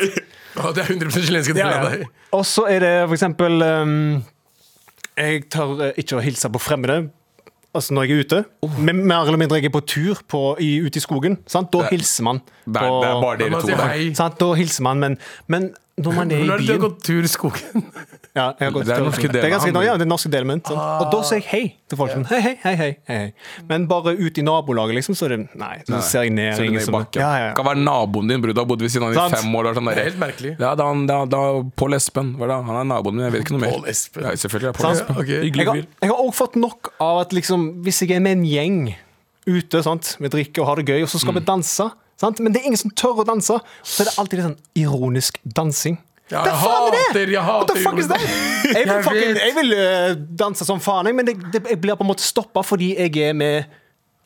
[SPEAKER 2] Å, det er 100 chilenske delen av deg.
[SPEAKER 4] Og så er det for eksempel ehm, Jeg tør eh, ikke å hilse på fremmede. Altså når jeg er ute.
[SPEAKER 3] Oh.
[SPEAKER 4] Men mer eller mindre jeg er på tur på, i, ute i skogen. Sant? Da
[SPEAKER 3] Det-
[SPEAKER 4] hilser man.
[SPEAKER 3] Det er,
[SPEAKER 4] på-
[SPEAKER 3] det er bare
[SPEAKER 2] Men
[SPEAKER 3] dere
[SPEAKER 2] man
[SPEAKER 3] to.
[SPEAKER 2] sier
[SPEAKER 3] da.
[SPEAKER 2] hei.
[SPEAKER 4] Sant? Da hilser man, men, men når man er
[SPEAKER 2] Hvordan
[SPEAKER 4] i
[SPEAKER 2] har du
[SPEAKER 4] byen
[SPEAKER 2] gått tur i skogen?
[SPEAKER 4] ja, jeg har gått
[SPEAKER 3] Det er
[SPEAKER 4] til-
[SPEAKER 3] norske delen
[SPEAKER 4] Det er ganske,
[SPEAKER 3] av
[SPEAKER 4] ja, det er norske delen min. Sant? Og da sier jeg hei til folk. Sånn, hei, hei, hei, hei, hei, hei. Men bare ute i nabolaget, liksom, så er det Nei, så ser jeg ned.
[SPEAKER 3] Ser du
[SPEAKER 4] ingen
[SPEAKER 3] ned i
[SPEAKER 4] som-
[SPEAKER 3] bakken.
[SPEAKER 4] Ja, ja, ja.
[SPEAKER 3] Kan være naboen din, bror. Du har bodd ved siden av
[SPEAKER 4] Sant.
[SPEAKER 3] i fem år. Det er sånn
[SPEAKER 2] Det
[SPEAKER 3] der,
[SPEAKER 2] er helt merkelig.
[SPEAKER 3] Ja, da, da, da, Pål Espen. Hva er det? Han er naboen min, jeg vet ikke noe mer.
[SPEAKER 2] Pål Espen.
[SPEAKER 3] Ja, selvfølgelig er Pål
[SPEAKER 4] Sant.
[SPEAKER 3] Espen.
[SPEAKER 2] Ok.
[SPEAKER 3] Hyggelig
[SPEAKER 4] Jeg har,
[SPEAKER 3] fyr.
[SPEAKER 4] jeg har også fått nok av at liksom, hvis jeg er med en gjeng ute, sant? vi drikker og har det gøy, og så
[SPEAKER 2] Mm.
[SPEAKER 4] skal vi danse, sant? men det er ingen som tør å danse, så er det alltid litt sånn ironisk dansing.
[SPEAKER 2] Ja,
[SPEAKER 4] Hva
[SPEAKER 2] jeg
[SPEAKER 4] faen er det?
[SPEAKER 2] hater- jeg
[SPEAKER 4] What the
[SPEAKER 2] hater
[SPEAKER 4] fuck is that? Jeg vil,
[SPEAKER 2] Jeg
[SPEAKER 4] fucking,
[SPEAKER 2] vet.
[SPEAKER 4] jeg vil eh, danse som faen, jeg, men det, det, jeg blir på en måte stoppa fordi jeg er med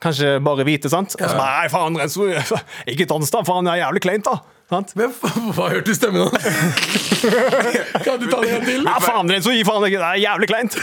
[SPEAKER 4] kanskje bare hvite, sant? Og så bare, nei, faen, Renzo, ikke dans, da. Faen, det er jævlig kleint, da. Sant?
[SPEAKER 2] Hvem faen hva hørte du stemmen hans? kan du ta det igjen til?
[SPEAKER 4] Nei, faen, Renzo, gi faen, det er jævlig kleint.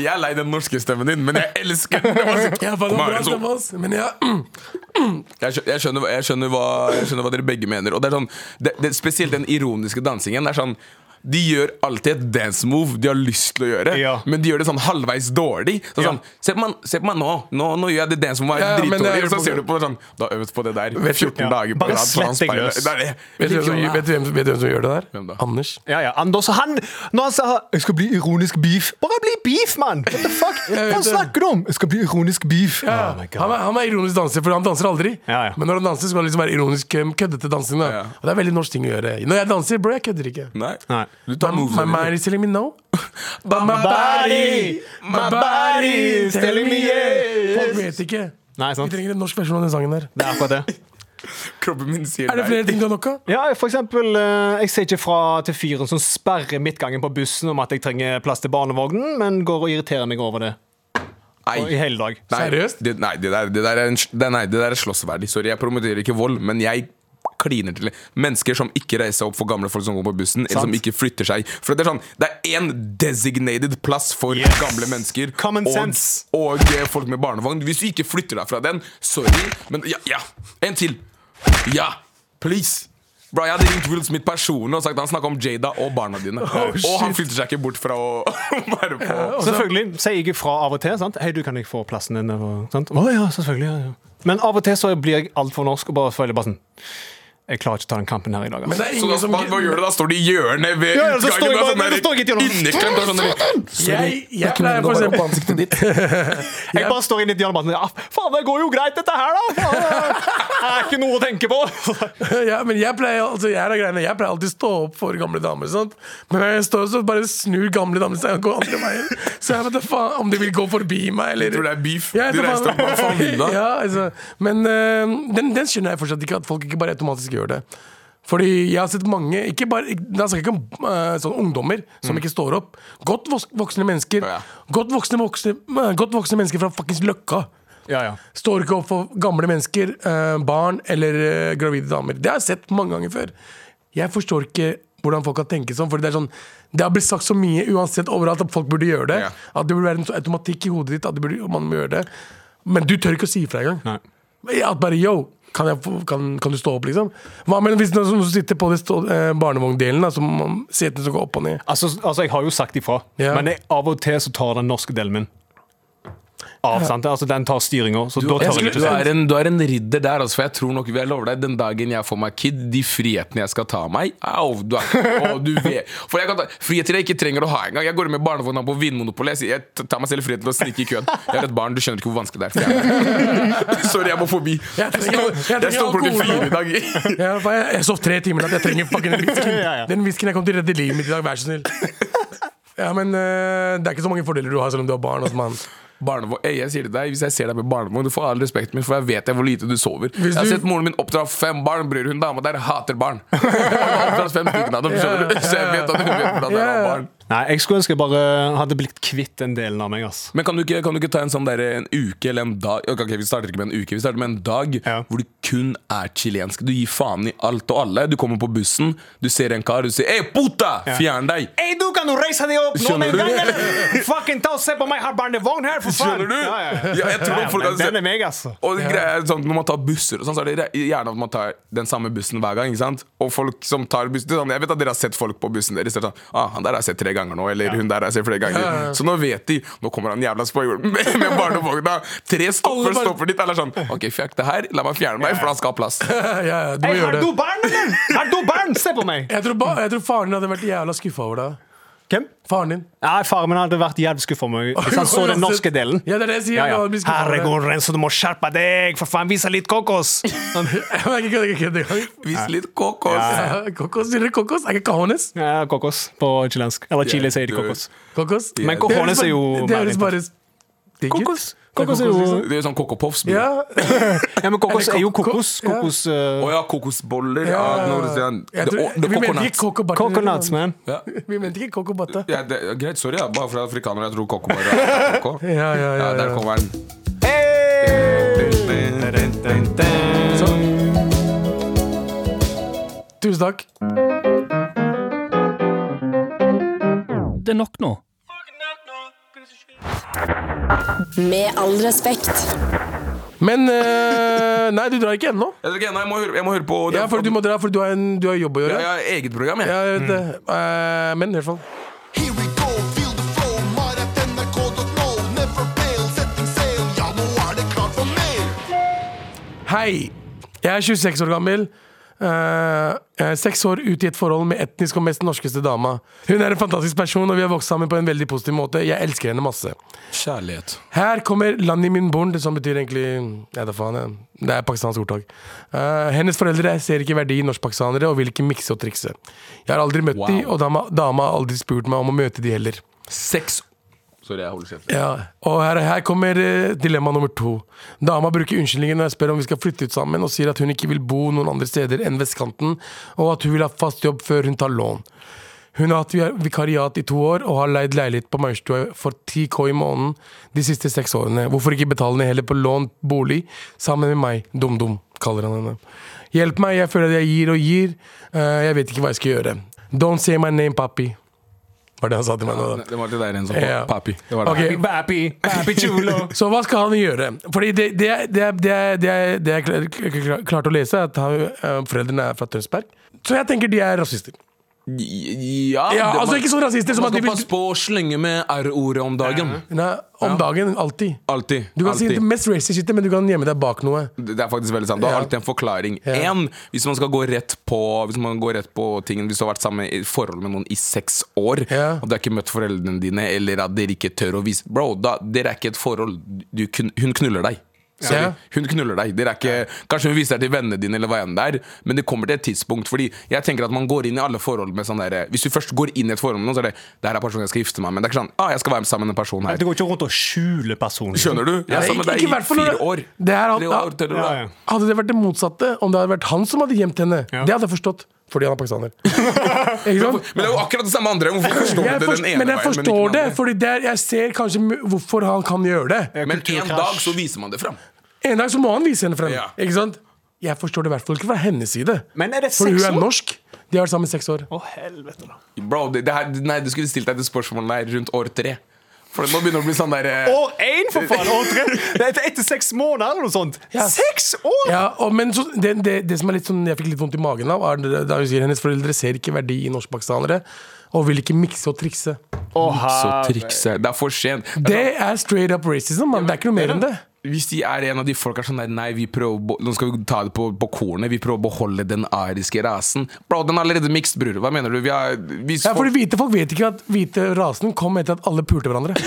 [SPEAKER 3] Jeg er lei den norske stemmen din, men jeg elsker den! Det var så-
[SPEAKER 2] Ja, faen, det
[SPEAKER 3] Kom
[SPEAKER 2] var
[SPEAKER 3] her,
[SPEAKER 2] bra
[SPEAKER 3] Renzo.
[SPEAKER 2] stemme, ass. Men ja, mm.
[SPEAKER 3] Jeg skjø- jeg skjønner, jeg, skjønner hva, jeg skjønner hva dere begge mener. Og det er sånn, det, det, Spesielt den ironiske dansingen. Det er sånn de gjør alltid et dance move de har lyst til å gjøre,
[SPEAKER 4] Ja.
[SPEAKER 3] men de gjør det sånn halvveis dårlig. Så
[SPEAKER 4] Ja.
[SPEAKER 3] sånn, se, på meg, se på meg nå! Nå, nå gjør jeg det dance move
[SPEAKER 2] Ja,
[SPEAKER 3] jeg er
[SPEAKER 2] men det
[SPEAKER 3] dritdårlig.
[SPEAKER 2] er jo
[SPEAKER 3] Og så
[SPEAKER 2] på-
[SPEAKER 3] ser du på sånn Du har øvd på det der
[SPEAKER 2] Vet du-
[SPEAKER 3] 14
[SPEAKER 2] ja.
[SPEAKER 3] dager på
[SPEAKER 4] Bare
[SPEAKER 3] rad foran
[SPEAKER 4] slett deg
[SPEAKER 3] speilet.
[SPEAKER 4] løs.
[SPEAKER 3] Det er det.
[SPEAKER 2] vet du hvem som- vet du hvem som- vet du hvem som gjør det der?
[SPEAKER 3] Hvem da?
[SPEAKER 2] Anders.
[SPEAKER 4] Ja, ja, Anders og han Når han sa Jeg skal bli ironisk beef Bare bli beef, mann! What the fuck?
[SPEAKER 2] vet
[SPEAKER 4] Hva
[SPEAKER 2] det.
[SPEAKER 4] snakker du om? Jeg skal bli ironisk beef Oh my
[SPEAKER 2] han,
[SPEAKER 4] god
[SPEAKER 2] er, han er ironisk danser, for han danser aldri.
[SPEAKER 4] Ja, ja.
[SPEAKER 2] Men når han danser, skal han liksom være ironisk eh, køddete dansing. Da.
[SPEAKER 3] Ja.
[SPEAKER 2] Og det er veldig norsk ting å gjøre. Når jeg danser, bro, jeg kødder ikke.
[SPEAKER 3] Nei.
[SPEAKER 4] Nei.
[SPEAKER 3] Du tar
[SPEAKER 2] My, my
[SPEAKER 3] movesene
[SPEAKER 2] mind
[SPEAKER 3] dine.
[SPEAKER 2] is telling me no. But my
[SPEAKER 4] body, my body is telling me yes.
[SPEAKER 2] Folk vet ikke.
[SPEAKER 4] Nei,
[SPEAKER 2] Vi
[SPEAKER 4] sant?
[SPEAKER 2] trenger en norsk versjon av den sangen der.
[SPEAKER 4] Det er akkurat det
[SPEAKER 3] Kroppen min sier
[SPEAKER 2] Er det flere ting du har nok av?
[SPEAKER 4] Ja, for eksempel eh, Jeg sier ikke fra til fyren som sperrer midtgangen på bussen Om at jeg trenger plass til barnevognen Men går og irriterer meg over det og, I
[SPEAKER 3] Nei.
[SPEAKER 4] hele dag
[SPEAKER 3] Nei,
[SPEAKER 2] Seriøst?
[SPEAKER 3] Det, nei, det der, det der er, en, det, nei, det der er slåssverdig. Sorry, jeg promoterer ikke vold, men jeg kliner til mennesker som ikke reiser seg opp for gamle folk som går på bussen, eller som ikke flytter seg. For det er sånn, det er én designated plass for gamle mennesker
[SPEAKER 4] Common
[SPEAKER 3] og,
[SPEAKER 4] sense.
[SPEAKER 3] og eh, folk med barnevogn. Hvis du ikke flytter deg fra den, sorry, men ja, ja. En til. Ja, please. Bro, Jeg hadde ringt Will Smith personlig og sagt han snakket om Jada og barna dine.
[SPEAKER 4] Oh,
[SPEAKER 3] og han flytter seg ikke bort fra å være på
[SPEAKER 4] altså- Selvfølgelig sier jeg fra av og til. sant? Hei, du kan jeg få plassen din? Og, sant? Å ja, selvfølgelig. Ja, ja. Men av og til så blir jeg altfor norsk og bare føler bare sånn Jeg klarer ikke å ta den kampen her i dag.
[SPEAKER 2] Men
[SPEAKER 4] Altså.
[SPEAKER 2] det er
[SPEAKER 3] Så da,
[SPEAKER 2] ingen som
[SPEAKER 3] hva, hva gjør du da? Står de i hjørnet ved sånn
[SPEAKER 4] Ja, ja, så står jeg bare-
[SPEAKER 3] der,
[SPEAKER 4] så står jeg ikke gjennom.
[SPEAKER 3] Inneklemt og sånn der.
[SPEAKER 2] Jeg, jeg pleier for eksempel
[SPEAKER 3] ansiktet ditt.
[SPEAKER 4] Jeg bare står inne i dialogbanen og sier Faen, det går jo greit, dette her, da! Faen, Det er ikke noe å tenke på!
[SPEAKER 2] ja, men jeg pleier, altså, jeg, er av greiene, jeg pleier alltid å stå opp for gamle damer. Sant? Men når jeg står så bare snur gamle damer seg og går andre veien. Så jeg vet da faen om de vil gå forbi meg eller
[SPEAKER 3] Jeg tror det er beef.
[SPEAKER 2] Ja, jeg
[SPEAKER 3] De
[SPEAKER 2] tror
[SPEAKER 3] reiste
[SPEAKER 2] faen-
[SPEAKER 3] opp bare for å vinne.
[SPEAKER 2] ja, altså. Men eh, den, den skjønner jeg fortsatt ikke, at folk ikke bare automatisk gjør det. Fordi jeg har sett mange, ikke bare, ikke- da snakker jeg ikke om eh, sånne ungdommer som ikke står opp. Godt vok- voksne mennesker.
[SPEAKER 3] Mm. Ja.
[SPEAKER 2] Godt voksne, voksne, eh, godt voksne mennesker fra fuckings Løkka.
[SPEAKER 4] Ja, ja.
[SPEAKER 2] Står ikke opp for gamle mennesker, eh, barn eller eh, gravide damer. Det har jeg sett mange ganger før. Jeg forstår ikke hvordan folk kan tenke sånn. Fordi det er sånn Det har blitt sagt så mye uansett overalt at folk burde gjøre det.
[SPEAKER 3] Ja.
[SPEAKER 2] At det burde være en sånn automatikk i hodet ditt at det burde, man må gjøre det. Men du tør ikke å si ifra engang.
[SPEAKER 4] Nei.
[SPEAKER 2] At bare yo, kan, jeg, få- kan, kan du stå opp, liksom? Hva med hvis noen som sitter på det stå, eh, barnevogndelen, da, som setene som går opp og ned?
[SPEAKER 4] Altså, altså, jeg har jo sagt ifra,
[SPEAKER 2] Ja.
[SPEAKER 4] men jeg, av og til så tar den norske delen min av. sant? Altså, den tar styringa, så da
[SPEAKER 3] Jeg
[SPEAKER 4] tør jeg
[SPEAKER 3] skulle,
[SPEAKER 4] ikke
[SPEAKER 3] du,
[SPEAKER 4] å si
[SPEAKER 3] er en, du er en ridder der, altså, for jeg tror nok jeg lover deg Den dagen jeg får meg kid, de frihetene jeg skal ta meg au, du er, å, du vet. For jeg kan ta, Friheter jeg ikke trenger å ha engang. Jeg går med barnevogna på Vinmonopolet. Jeg, sier, jeg t- tar meg selv frihet til å snike i køen. Jeg er et barn, du skjønner ikke hvor vanskelig det er. For jeg, sorry, jeg må forbi.
[SPEAKER 2] Jeg
[SPEAKER 3] Jeg,
[SPEAKER 2] trenger- jeg trenger
[SPEAKER 3] jeg står opp klokken
[SPEAKER 2] alkohol
[SPEAKER 3] fire
[SPEAKER 2] nå.
[SPEAKER 3] i dag.
[SPEAKER 2] Ja, for jeg, jeg sov tre timer i natt. Jeg trenger fucking den whiskyen.
[SPEAKER 4] Ja, ja.
[SPEAKER 2] Den whiskyen jeg kom til å redde livet mitt i dag. Vær så snill. Ja, men eh, det er ikke så mange fordeler du har selv om du har barn. Altså, mann.
[SPEAKER 3] Barnevogn, Ey, jeg sier det deg, Hvis jeg ser deg med barnevogn, du får all respekten min, for jeg vet jeg hvor lite du sover. jeg har
[SPEAKER 2] du-
[SPEAKER 3] sett moren min oppdra fem barn, bror. Hun dama der hater barn. Hun har oppdratt fem stykker av dem, skjønner du. Så jeg vet at hun vet hvordan det er å ha
[SPEAKER 2] Ja.
[SPEAKER 3] barn.
[SPEAKER 4] Nei, jeg skulle ønske jeg bare hadde blitt kvitt den delen av meg. ass.
[SPEAKER 3] Men kan du, ikke, kan du ikke ta en sånn der, en uke eller en dag Ok, ok, Vi starter ikke med en uke, vi starter med en dag
[SPEAKER 4] Ja.
[SPEAKER 3] hvor du kun er chilensk. Du gir faen i alt og alle. Du kommer på bussen, du ser en kar, du sier 'Ei, puta!
[SPEAKER 4] Ja.
[SPEAKER 3] Fjern deg!'
[SPEAKER 4] Ei, du, kan du reise deg opp nå med
[SPEAKER 3] Skjønner
[SPEAKER 4] en
[SPEAKER 3] du?
[SPEAKER 4] gang, eller? Fucking ta og se på meg, jeg har barnevogn her, for faen!
[SPEAKER 3] Skjønner du?
[SPEAKER 4] Ja, ja, ja.
[SPEAKER 3] Ja, jeg tror
[SPEAKER 4] Ja,
[SPEAKER 3] folk
[SPEAKER 4] men
[SPEAKER 3] hadde sett-
[SPEAKER 4] Den er meg, altså.
[SPEAKER 3] Og greia er sånn, Når man tar busser, og sånn, så er det re- gjerne at man tar den samme bussen hver gang. ikke sant? Og folk som tar bussen, det er sånn, Jeg vet at dere har sett folk på bussen deres. det er Sånn, ah, 'Han der har jeg sett tre ganger nå', eller 'hun der har jeg sett flere ganger'. Så nå vet de. Nå kommer han jævla spanjolen med, med barnevogna. Tre stopper,
[SPEAKER 2] Alle bare-
[SPEAKER 3] stopper dit. Alle er sånn 'Ok, fuck det her. La meg fjerne meg, for han skal ha plass'.
[SPEAKER 2] Ja, ja, du må
[SPEAKER 4] Ei, har
[SPEAKER 2] gjøre
[SPEAKER 4] du
[SPEAKER 2] det.
[SPEAKER 4] barn, eller? Har du barn? Se på meg!
[SPEAKER 2] Jeg tror, ba, jeg tror faren din hadde vært jævla skuffa over deg.
[SPEAKER 4] Hvem?
[SPEAKER 2] Faren din.
[SPEAKER 4] Nei, Faren min hadde vært jævlig skuffa om meg hvis han så den norske delen.
[SPEAKER 2] Ja, det er det jeg sier.
[SPEAKER 4] Ja, ja.
[SPEAKER 2] Han hadde blitt skuffet over deg.
[SPEAKER 4] Herregud, Renzo, du må skjerpe deg! For faen, vise litt kokos!
[SPEAKER 2] Jeg kødder ikke kødder engang.
[SPEAKER 3] Vis litt kokos.
[SPEAKER 2] Ja, Kokos, sier dere kokos? Er ikke cajones?
[SPEAKER 4] Ja, kokos på chilensk. Eller Chile sier de kokos.
[SPEAKER 2] Kokos?
[SPEAKER 4] Men
[SPEAKER 2] Det høres
[SPEAKER 4] cojones er
[SPEAKER 2] bare-
[SPEAKER 4] jo
[SPEAKER 2] Det høres bare digg ut.
[SPEAKER 4] Kokos. Kokos
[SPEAKER 2] Kokos,
[SPEAKER 4] er jo
[SPEAKER 2] liksom.
[SPEAKER 3] Det er jo sånn kokopoffs.
[SPEAKER 2] Ja.
[SPEAKER 4] Ja, men kokos
[SPEAKER 2] Eller
[SPEAKER 4] er jo
[SPEAKER 2] kok-
[SPEAKER 4] kokos.
[SPEAKER 2] ja.
[SPEAKER 4] Kokos eh,
[SPEAKER 3] Å ja, kokosboller. Ja.
[SPEAKER 2] Ja.
[SPEAKER 3] Nordstrand.
[SPEAKER 2] Jeg
[SPEAKER 3] Det,
[SPEAKER 2] tror-
[SPEAKER 3] å-
[SPEAKER 2] Vi
[SPEAKER 3] det
[SPEAKER 2] mente
[SPEAKER 3] coconuts.
[SPEAKER 2] ikke kokk og batte.
[SPEAKER 4] Coconuts, man.
[SPEAKER 3] Ja.
[SPEAKER 2] Vi mente ikke kokk og batte.
[SPEAKER 3] Ja, det, ja, greit, sorry, ja. bare for afrikanere. Jeg tror kokoboller er koko.
[SPEAKER 2] Ja, ja, ja,
[SPEAKER 3] Ja, der
[SPEAKER 2] ja.
[SPEAKER 3] kommer den.
[SPEAKER 2] Tusen takk.
[SPEAKER 10] Det er nok nå.
[SPEAKER 8] Med all respekt.
[SPEAKER 2] Men eh, Nei, du drar ikke ennå.
[SPEAKER 3] Jeg, tror ikke ennå, jeg, må høre, jeg må høre på
[SPEAKER 2] Ja, for du må dra, for du har, en, du har jobb å
[SPEAKER 3] Ja,
[SPEAKER 2] gjøre.
[SPEAKER 3] jeg har eget program, jeg.
[SPEAKER 2] Ja, jeg vet det. Eh, men i hvert fall.
[SPEAKER 11] Here we go, feel the flow, maratnrk.no, never fail, setting sail, ja nå er det klart for mer.
[SPEAKER 2] Hei! Jeg er 26 år gammel. Eh, jeg er seks år ute i et forhold med etnisk og mest norskeste dama. Hun er en fantastisk person, og vi har vokst sammen på en veldig positiv måte. Jeg elsker henne masse.
[SPEAKER 3] Kjærlighet.
[SPEAKER 2] Her kommer Lani min born, som betyr egentlig Jeg vet da faen, jeg. Det er pakistansk ordtak. Eh, hennes foreldre ser ikke verdi i norskpakistanere og vil ikke mikse og trikse. Jeg har aldri møtt
[SPEAKER 3] Wow.
[SPEAKER 2] de, og dama, dama har aldri spurt meg om å møte de heller.
[SPEAKER 3] Sex Sorry, jeg holder kjeft.
[SPEAKER 2] Ja, og her, her kommer eh, dilemma nummer to. Dama bruker unnskyldninger når jeg spør om vi skal flytte ut sammen, og sier at hun ikke vil bo noen andre steder enn vestkanten, og at hun vil ha fast jobb før hun tar lån. Hun har hatt vi- vikariat i to år og har leid leilighet på Maurstua for 10K i måneden de siste seks årene. Hvorfor ikke betale ned heller på lånt bolig sammen med meg? Dum-dum, kaller han henne. Hjelp meg, jeg føler at jeg gir og gir. Eh, jeg vet ikke hva jeg skal gjøre. Don't say my name, papi. Var det han sa til meg nå, da.
[SPEAKER 3] Det var til deg, Renzo.
[SPEAKER 2] Ja.
[SPEAKER 3] Papi. Det var det.
[SPEAKER 2] Ok.
[SPEAKER 4] Bappy, bappy chulo.
[SPEAKER 2] Så hva skal han gjøre? Fordi det, det, det, det, det, det jeg klar- klar- klarte å lese, er at han, eh, foreldrene er fra Tønsberg. Så jeg tenker de er rasister.
[SPEAKER 3] Ja, sånn
[SPEAKER 2] Ja,
[SPEAKER 3] det-
[SPEAKER 2] altså ikke så rasister som
[SPEAKER 3] Man
[SPEAKER 2] at de
[SPEAKER 3] skal
[SPEAKER 2] vil
[SPEAKER 3] passe på å slenge med r-ordet om dagen.
[SPEAKER 2] Nei, Om dagen, alltid.
[SPEAKER 3] Alltid.
[SPEAKER 2] Du kan si
[SPEAKER 3] alltid.
[SPEAKER 2] det mest racist shitet, men du kan gjemme deg bak noe.
[SPEAKER 3] Det er faktisk veldig sant. Du har
[SPEAKER 2] Ja.
[SPEAKER 3] alltid en forklaring.
[SPEAKER 2] Ja.
[SPEAKER 3] En, hvis man skal gå rett på Hvis man går rett på tingen Hvis du har vært sammen i forhold med noen i seks år,
[SPEAKER 2] Ja.
[SPEAKER 3] og du har ikke møtt foreldrene dine, eller at dere ikke tør å vise Bro, da, dere er ikke et forhold. Du, kun- hun knuller deg. Sorry.
[SPEAKER 2] Ja.
[SPEAKER 3] Hun knuller deg. Dere er ikke, kanskje hun viser deg til vennene dine, eller hva enn det er, men det kommer til et tidspunkt. Fordi jeg tenker at man går inn i alle forhold med sånn derre Hvis du først går inn i et forhold med noen, så er det Det her er personen jeg skal gifte meg med. Det er ikke sånn ah, jeg skal være sammen med en person
[SPEAKER 4] Nei,
[SPEAKER 3] her.
[SPEAKER 4] Du går ikke rundt og skjuler personen.
[SPEAKER 3] Skjønner du? Jeg er sammen med deg i fire år.
[SPEAKER 2] Det her,
[SPEAKER 3] Tre år,
[SPEAKER 2] hadde,
[SPEAKER 3] til du
[SPEAKER 4] Ja,
[SPEAKER 3] da.
[SPEAKER 4] ja.
[SPEAKER 2] hadde det vært det motsatte, om det hadde vært han som hadde gjemt henne,
[SPEAKER 4] Ja.
[SPEAKER 2] det hadde jeg forstått. Fordi han er pakistaner. Ikke sant?
[SPEAKER 3] Men det er jo akkurat det samme andre. Hvorfor forstår
[SPEAKER 2] Jeg
[SPEAKER 3] du det
[SPEAKER 2] forst-
[SPEAKER 3] den ene
[SPEAKER 2] men jeg
[SPEAKER 3] veien, ikke
[SPEAKER 2] forstår
[SPEAKER 3] den
[SPEAKER 2] det,
[SPEAKER 3] andre?
[SPEAKER 2] Fordi der jeg ser kanskje m- hvorfor han kan gjøre det.
[SPEAKER 3] Men en dag så viser man det fram.
[SPEAKER 2] En dag så må han vise henne frem.
[SPEAKER 3] Ja.
[SPEAKER 2] Ikke sant? Jeg forstår det i hvert fall ikke fra hennes side.
[SPEAKER 4] Men er det
[SPEAKER 2] For hun
[SPEAKER 4] seks
[SPEAKER 2] er
[SPEAKER 4] år?
[SPEAKER 2] norsk. De har vært sammen i seks år.
[SPEAKER 4] Å, helvete, da.
[SPEAKER 3] Bro, det, det her, nei, du skulle stilt deg det spørsmålet her rundt år tre. For nå begynner det å bli sånn der eh,
[SPEAKER 4] År én, for faen! År tre! Det er etter seks måneder eller noe sånt.
[SPEAKER 2] Ja.
[SPEAKER 4] Seks år!
[SPEAKER 2] Ja, og, men så, det, det, det som er litt sånn, jeg fikk litt vondt i magen av, er det- da hun sier hennes foreldre ser ikke verdi i norskpakistanere og vil ikke mikse og trikse.
[SPEAKER 3] Så
[SPEAKER 4] Å, her-
[SPEAKER 3] trikse. Det er for sent. Altså,
[SPEAKER 2] Det er straight up racism, mann. Det er ikke noe mer enn det.
[SPEAKER 3] Hvis de er en av de folka som er sånn Nei, vi prøver å bo- Nå skal vi ta det på, på kornet. Vi prøver å beholde den ariske rasen. Bro, den er allerede mixed, bror. Hva mener du? Vi har vi
[SPEAKER 2] Ja, fordi
[SPEAKER 3] folk-
[SPEAKER 2] hvite folk vet ikke at hvite rasen kom etter at alle pulte hverandre.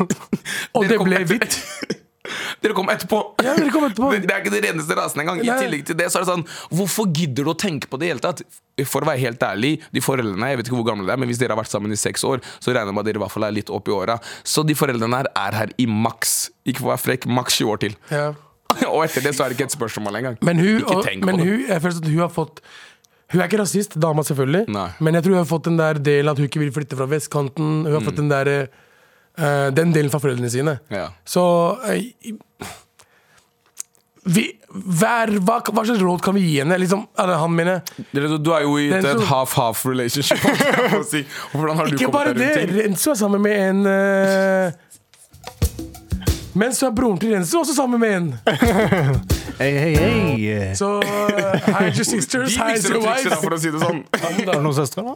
[SPEAKER 2] og
[SPEAKER 3] Dere
[SPEAKER 2] det
[SPEAKER 3] kom
[SPEAKER 2] ble
[SPEAKER 3] etter-
[SPEAKER 2] hvitt.
[SPEAKER 3] Dere kom etterpå.
[SPEAKER 2] Ja, dere kom etterpå.
[SPEAKER 3] Det, det er ikke den reneste rasen engang. I
[SPEAKER 2] Nei.
[SPEAKER 3] tillegg til det så er det sånn Hvorfor gidder du å tenke på det i hele tatt? For å være helt ærlig, de foreldrene Jeg vet ikke hvor gamle dere er, men hvis dere har vært sammen i seks år, så regner jeg med at dere i hvert fall er litt opp i åra. Så de foreldrene her er her i maks Ikke for å være frekk, maks 20 år til.
[SPEAKER 2] Ja.
[SPEAKER 3] Og etter det så er det ikke et spørsmål engang.
[SPEAKER 2] Men hun,
[SPEAKER 3] ikke
[SPEAKER 2] og,
[SPEAKER 3] tenk
[SPEAKER 2] men
[SPEAKER 3] på det.
[SPEAKER 2] hun jeg føler sånn at hun har fått Hun er ikke rasist, dama selvfølgelig,
[SPEAKER 3] Nei.
[SPEAKER 2] men jeg tror hun har fått den der delen at hun ikke vil flytte fra vestkanten. Hun har fått den der eh, Den delen fra foreldrene sine.
[SPEAKER 3] Mm. Ja.
[SPEAKER 2] Så eh, i- vi, hver, hva, hva slags råd kan vi gi henne? Liksom, eller han mener jeg.
[SPEAKER 3] Dere, Du, du er jo i
[SPEAKER 2] Den
[SPEAKER 3] et
[SPEAKER 2] som-
[SPEAKER 3] half-half relationship. holdt jeg på å si. Hvordan har du
[SPEAKER 2] Ikke
[SPEAKER 3] kommet
[SPEAKER 2] bare
[SPEAKER 3] deg
[SPEAKER 2] det!
[SPEAKER 3] rundt ting?
[SPEAKER 2] Renzo er sammen med en eh, Mens så er broren til Renzo også sammen med en.
[SPEAKER 4] Hei, hei, hei.
[SPEAKER 2] Så eh, hide your sisters,
[SPEAKER 3] De
[SPEAKER 2] hide
[SPEAKER 3] mikser
[SPEAKER 2] your
[SPEAKER 3] og trikser, da,
[SPEAKER 2] wives.
[SPEAKER 3] for å si det sånn.
[SPEAKER 4] Har du noen søstre, da?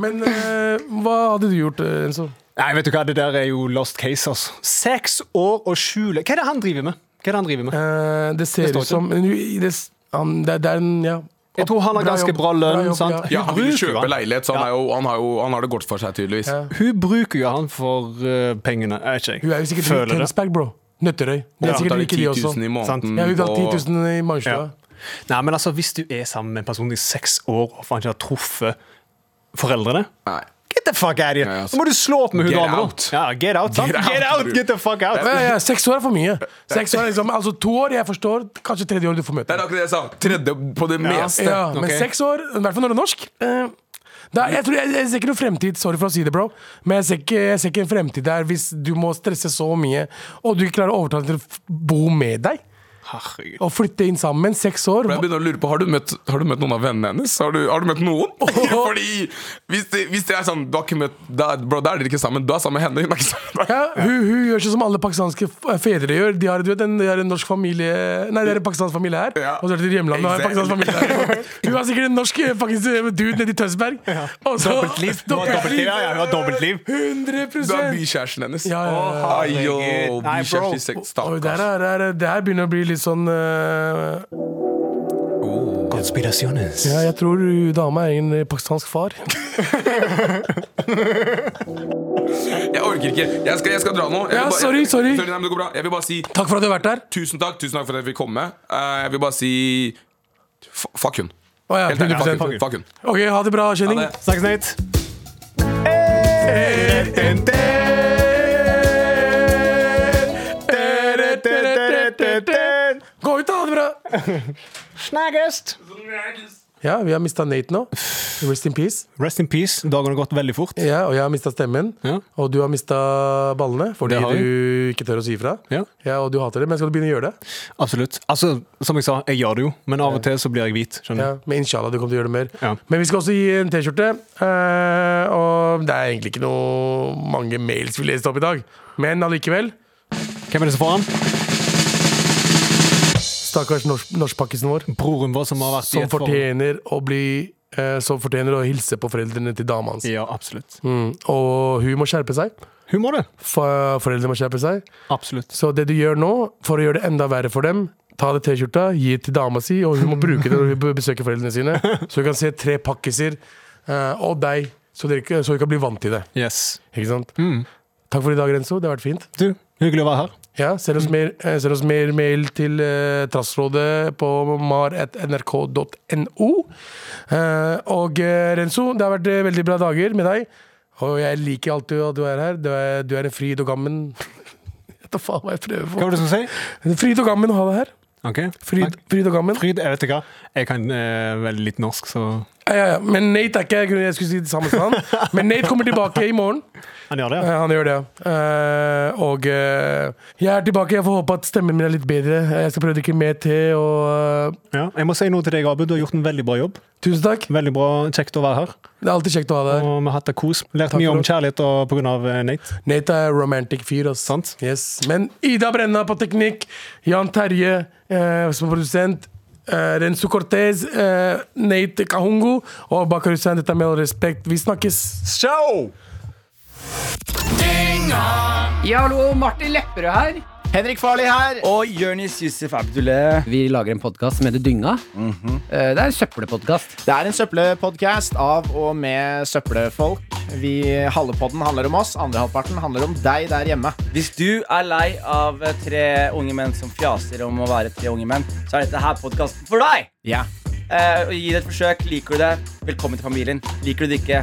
[SPEAKER 2] Men eh, hva hadde du gjort, eh, Renzo?
[SPEAKER 4] Nei, vet du hva, det der er jo lost case, altså. Seks år og skjule Hva er det han driver med? Hva er det han driver med?
[SPEAKER 2] Eh, det ser
[SPEAKER 4] Det står
[SPEAKER 2] ut som men hun- det, s- han, det, det er en ja.
[SPEAKER 4] Jeg tror han har ganske
[SPEAKER 2] jobb.
[SPEAKER 4] bra lønn.
[SPEAKER 2] jobb,
[SPEAKER 4] sant?
[SPEAKER 3] Ja, han vil
[SPEAKER 4] bruker jo
[SPEAKER 3] kjøpe leilighet, så han, er jo, han, har jo, han har det godt for seg, tydeligvis.
[SPEAKER 2] Ja.
[SPEAKER 4] Hun bruker jo han for eh, pengene. Jeg vet ikke.
[SPEAKER 2] Hun er jo sikkert i
[SPEAKER 4] Føler det.
[SPEAKER 2] Tønsberg, bro. Nøtterøy. De er
[SPEAKER 3] Så tar
[SPEAKER 2] sikkert
[SPEAKER 3] de
[SPEAKER 2] like, de
[SPEAKER 3] 10
[SPEAKER 2] også.
[SPEAKER 3] 000 i
[SPEAKER 4] Sant.
[SPEAKER 3] måneden
[SPEAKER 2] Jeg har
[SPEAKER 3] på-
[SPEAKER 2] betalt 10 000 i
[SPEAKER 4] Ja.
[SPEAKER 2] Majorstua.
[SPEAKER 4] Nei, men altså, hvis du er sammen med en person i seks år og faen ikke har truffet foreldrene
[SPEAKER 3] Nei.
[SPEAKER 4] Get the fuck out of
[SPEAKER 3] Ja,
[SPEAKER 4] here!
[SPEAKER 3] ja,
[SPEAKER 4] Så må du slå opp med hun
[SPEAKER 3] Get
[SPEAKER 4] dama.
[SPEAKER 3] out.
[SPEAKER 4] da. Ja, get out, sant?
[SPEAKER 3] Get out,
[SPEAKER 4] Get out!
[SPEAKER 3] bror.
[SPEAKER 4] Get the fuck out!
[SPEAKER 2] Ja, ja, seks år er for mye. Seks år er liksom, altså To år, jeg forstår. Kanskje tredje år du får møte.
[SPEAKER 3] Det er akkurat det jeg sa. Tredje på det meste.
[SPEAKER 2] Ja, Men
[SPEAKER 4] Ok.
[SPEAKER 2] seks år, i hvert fall når du er norsk eh, da, jeg, tror, jeg, jeg ser ikke noe fremtid, sorry for å si det, bro. Men jeg ser, ikke, jeg ser ikke en fremtid der hvis du må stresse så mye, og du ikke klarer å overtale til å f- bo med deg.
[SPEAKER 4] Herregud.
[SPEAKER 2] Og flytte inn sammen. Seks år.
[SPEAKER 3] Jeg begynner å lure på, Har du møtt, har du møtt noen av vennene hennes? Har du, har du møtt noen? Fordi hvis det, hvis det er sånn Du har ikke møtt da, Bro, da er dere ikke sammen. Du er sammen med henne. Hun er ikke sammen med deg.
[SPEAKER 2] Ja, hun, hun gjør sånn som alle pakistanske f- fedre gjør. De har, du vet, en, de har en norsk familie Nei, det er en pakistansk familie her.
[SPEAKER 3] Ja.
[SPEAKER 2] Og så er det til hjemlandet og en
[SPEAKER 3] Exactly.
[SPEAKER 2] pakistansk familie her. Hun har sikkert en norsk eh, faktisk, dude nede i Tønsberg. Og så-
[SPEAKER 4] Dobbeltliv. Hun har
[SPEAKER 2] Dobbeltliv.
[SPEAKER 4] dobbeltliv, ja, ja, hun har dobbeltliv.
[SPEAKER 2] 100
[SPEAKER 3] Du er bykjæresten hennes.
[SPEAKER 2] Ja, ja, ja.
[SPEAKER 3] Ai, yo,
[SPEAKER 4] herregud. Nei, bro.
[SPEAKER 3] bykjæresten i seks-
[SPEAKER 2] Oi, det, her
[SPEAKER 3] Stakkars.
[SPEAKER 2] er, er, det her begynner å bli litt sånn eh,
[SPEAKER 4] Konspirasjones.
[SPEAKER 2] Ja, jeg tror hun dama er en eh, pakistansk far.
[SPEAKER 3] Jeg orker ikke. Jeg skal, jeg skal dra nå. Jeg vil
[SPEAKER 2] Ja,
[SPEAKER 3] bare-
[SPEAKER 2] sorry, sorry.
[SPEAKER 3] sorry nei, men det går bra. Jeg vil bare si
[SPEAKER 2] Takk for at du har vært her.
[SPEAKER 3] tusen takk, tusen takk for at jeg fikk komme. Eh, jeg vil bare si f Fuck hun.
[SPEAKER 2] Å, ja,
[SPEAKER 3] Helt ærlig, fuck
[SPEAKER 2] 100%.
[SPEAKER 3] hun. Fuck hun.
[SPEAKER 2] Ok, ha det bra, kjenning.
[SPEAKER 3] Ha det.
[SPEAKER 4] Snakkes, Nate.
[SPEAKER 2] Gå ut, da. Ha det bra.
[SPEAKER 4] Snakkes!
[SPEAKER 2] Ja, vi har mista Nate nå. Rest in peace.
[SPEAKER 4] Rest in peace. Dagen har gått veldig fort.
[SPEAKER 2] Ja, og jeg har mista stemmen.
[SPEAKER 4] Ja.
[SPEAKER 2] Og du har mista ballene fordi
[SPEAKER 4] Det har jeg.
[SPEAKER 2] du ikke tør å si ifra.
[SPEAKER 4] Ja.
[SPEAKER 2] og du hater det, men skal du begynne å gjøre det?
[SPEAKER 4] Absolutt. Altså, som jeg sa, jeg gjør det jo, men av og til så blir jeg hvit.
[SPEAKER 2] Ja,
[SPEAKER 4] Skjønner du?
[SPEAKER 2] men inshallah, du kommer til å gjøre det mer.
[SPEAKER 4] Ja.
[SPEAKER 2] Men vi skal også gi en T-skjorte. eh, og det er egentlig ikke noe mange mails vi leste opp i dag, men allikevel.
[SPEAKER 4] Hvem er det som får den?
[SPEAKER 2] Stakkars norsk- norskpakkisen vår,
[SPEAKER 4] Broren vår som har vært i
[SPEAKER 2] som
[SPEAKER 4] et forhold.
[SPEAKER 2] fortjener å bli eh, Som fortjener å hilse på foreldrene til dama hans.
[SPEAKER 4] Ja, absolutt.
[SPEAKER 2] Mm. Og hun må skjerpe seg.
[SPEAKER 4] Hun må det.
[SPEAKER 2] For, foreldrene må skjerpe seg.
[SPEAKER 4] Absolutt.
[SPEAKER 2] Så det du gjør nå, for å gjøre det enda verre for dem, ta det T-skjorta, gi det til dama si, og hun må bruke det når hun besøker foreldrene sine. Så hun kan se tre pakkiser, eh, og deg, så, dere, ikke- så hun kan bli vant til det.
[SPEAKER 4] Yes.
[SPEAKER 2] Ikke sant? Takk for i dag, Renzo. Det har vært fint.
[SPEAKER 4] Du, hyggelig å være her.
[SPEAKER 2] Ja, send oss, mer, eh, send oss mer mail til eh, Trassrådet på mar.nrk.no. Eh, og eh, Renzo, det har vært eh, veldig bra dager med deg. Og jeg liker alltid at du er her. Du er, du er en fryd og gammen. Jeg vet da faen hva jeg prøver på.
[SPEAKER 4] Hva var det du skulle si?
[SPEAKER 2] En Fryd og gammen å ha deg her.
[SPEAKER 4] Ok.
[SPEAKER 2] Fryd,
[SPEAKER 4] Takk.
[SPEAKER 2] fryd og gammen.
[SPEAKER 4] Fryd, jeg vet ikke hva. Jeg kan eh, veldig litt norsk, så
[SPEAKER 2] Ja, ja, ja. Men Nate er ikke jeg skulle si det samme som han. Men Nate kommer tilbake i morgen.
[SPEAKER 4] han gjør det.
[SPEAKER 2] Eh,
[SPEAKER 4] ja.
[SPEAKER 2] Han gjør det, ja. Eh, og eh, jeg er tilbake. Jeg får håpe at stemmen min er litt bedre. Eh, Jeg skal prøve å drikke mer te. Og eh,
[SPEAKER 4] Ja. Jeg må si noe til deg, Abu. Du har gjort en veldig bra jobb.
[SPEAKER 2] tusen takk.
[SPEAKER 4] Veldig bra, Kjekt å være her.
[SPEAKER 2] Det er alltid kjekt å ha deg her.
[SPEAKER 4] Og vi har hatt det kos. Lært
[SPEAKER 2] Takk
[SPEAKER 4] mye
[SPEAKER 2] for
[SPEAKER 4] om
[SPEAKER 2] det.
[SPEAKER 4] kjærlighet og på grunn av eh, Nate.
[SPEAKER 2] Nate er romantic fyr. ass.
[SPEAKER 4] Sant?
[SPEAKER 2] Yes. Men Ida Brenna på teknikk, Jan Terje eh, som er produsent, eh, Renzo Cortez, eh, Nate Kahungo og Bakar Hussein. Dette er med all respekt. Vi snakkes.
[SPEAKER 3] Ciao!
[SPEAKER 12] Ja, hallo, Martin Lepperød her.
[SPEAKER 13] Henrik Farley her.
[SPEAKER 14] Og Jonis Yusuf Abdullah.
[SPEAKER 13] Vi lager en podkast som heter Dynga. Eh, Det er en søppelpodkast.
[SPEAKER 14] Det er en søppelpodkast av og med søppelfolk. Vi, halve podden handler om oss, andre halvparten handler om deg der hjemme.
[SPEAKER 7] Hvis du er lei av tre unge menn som fjaser om å være tre unge menn, så er dette her podkasten for deg!
[SPEAKER 14] Ja.
[SPEAKER 7] Eh, og gi det et forsøk. Liker du det, velkommen til familien. Liker du det ikke,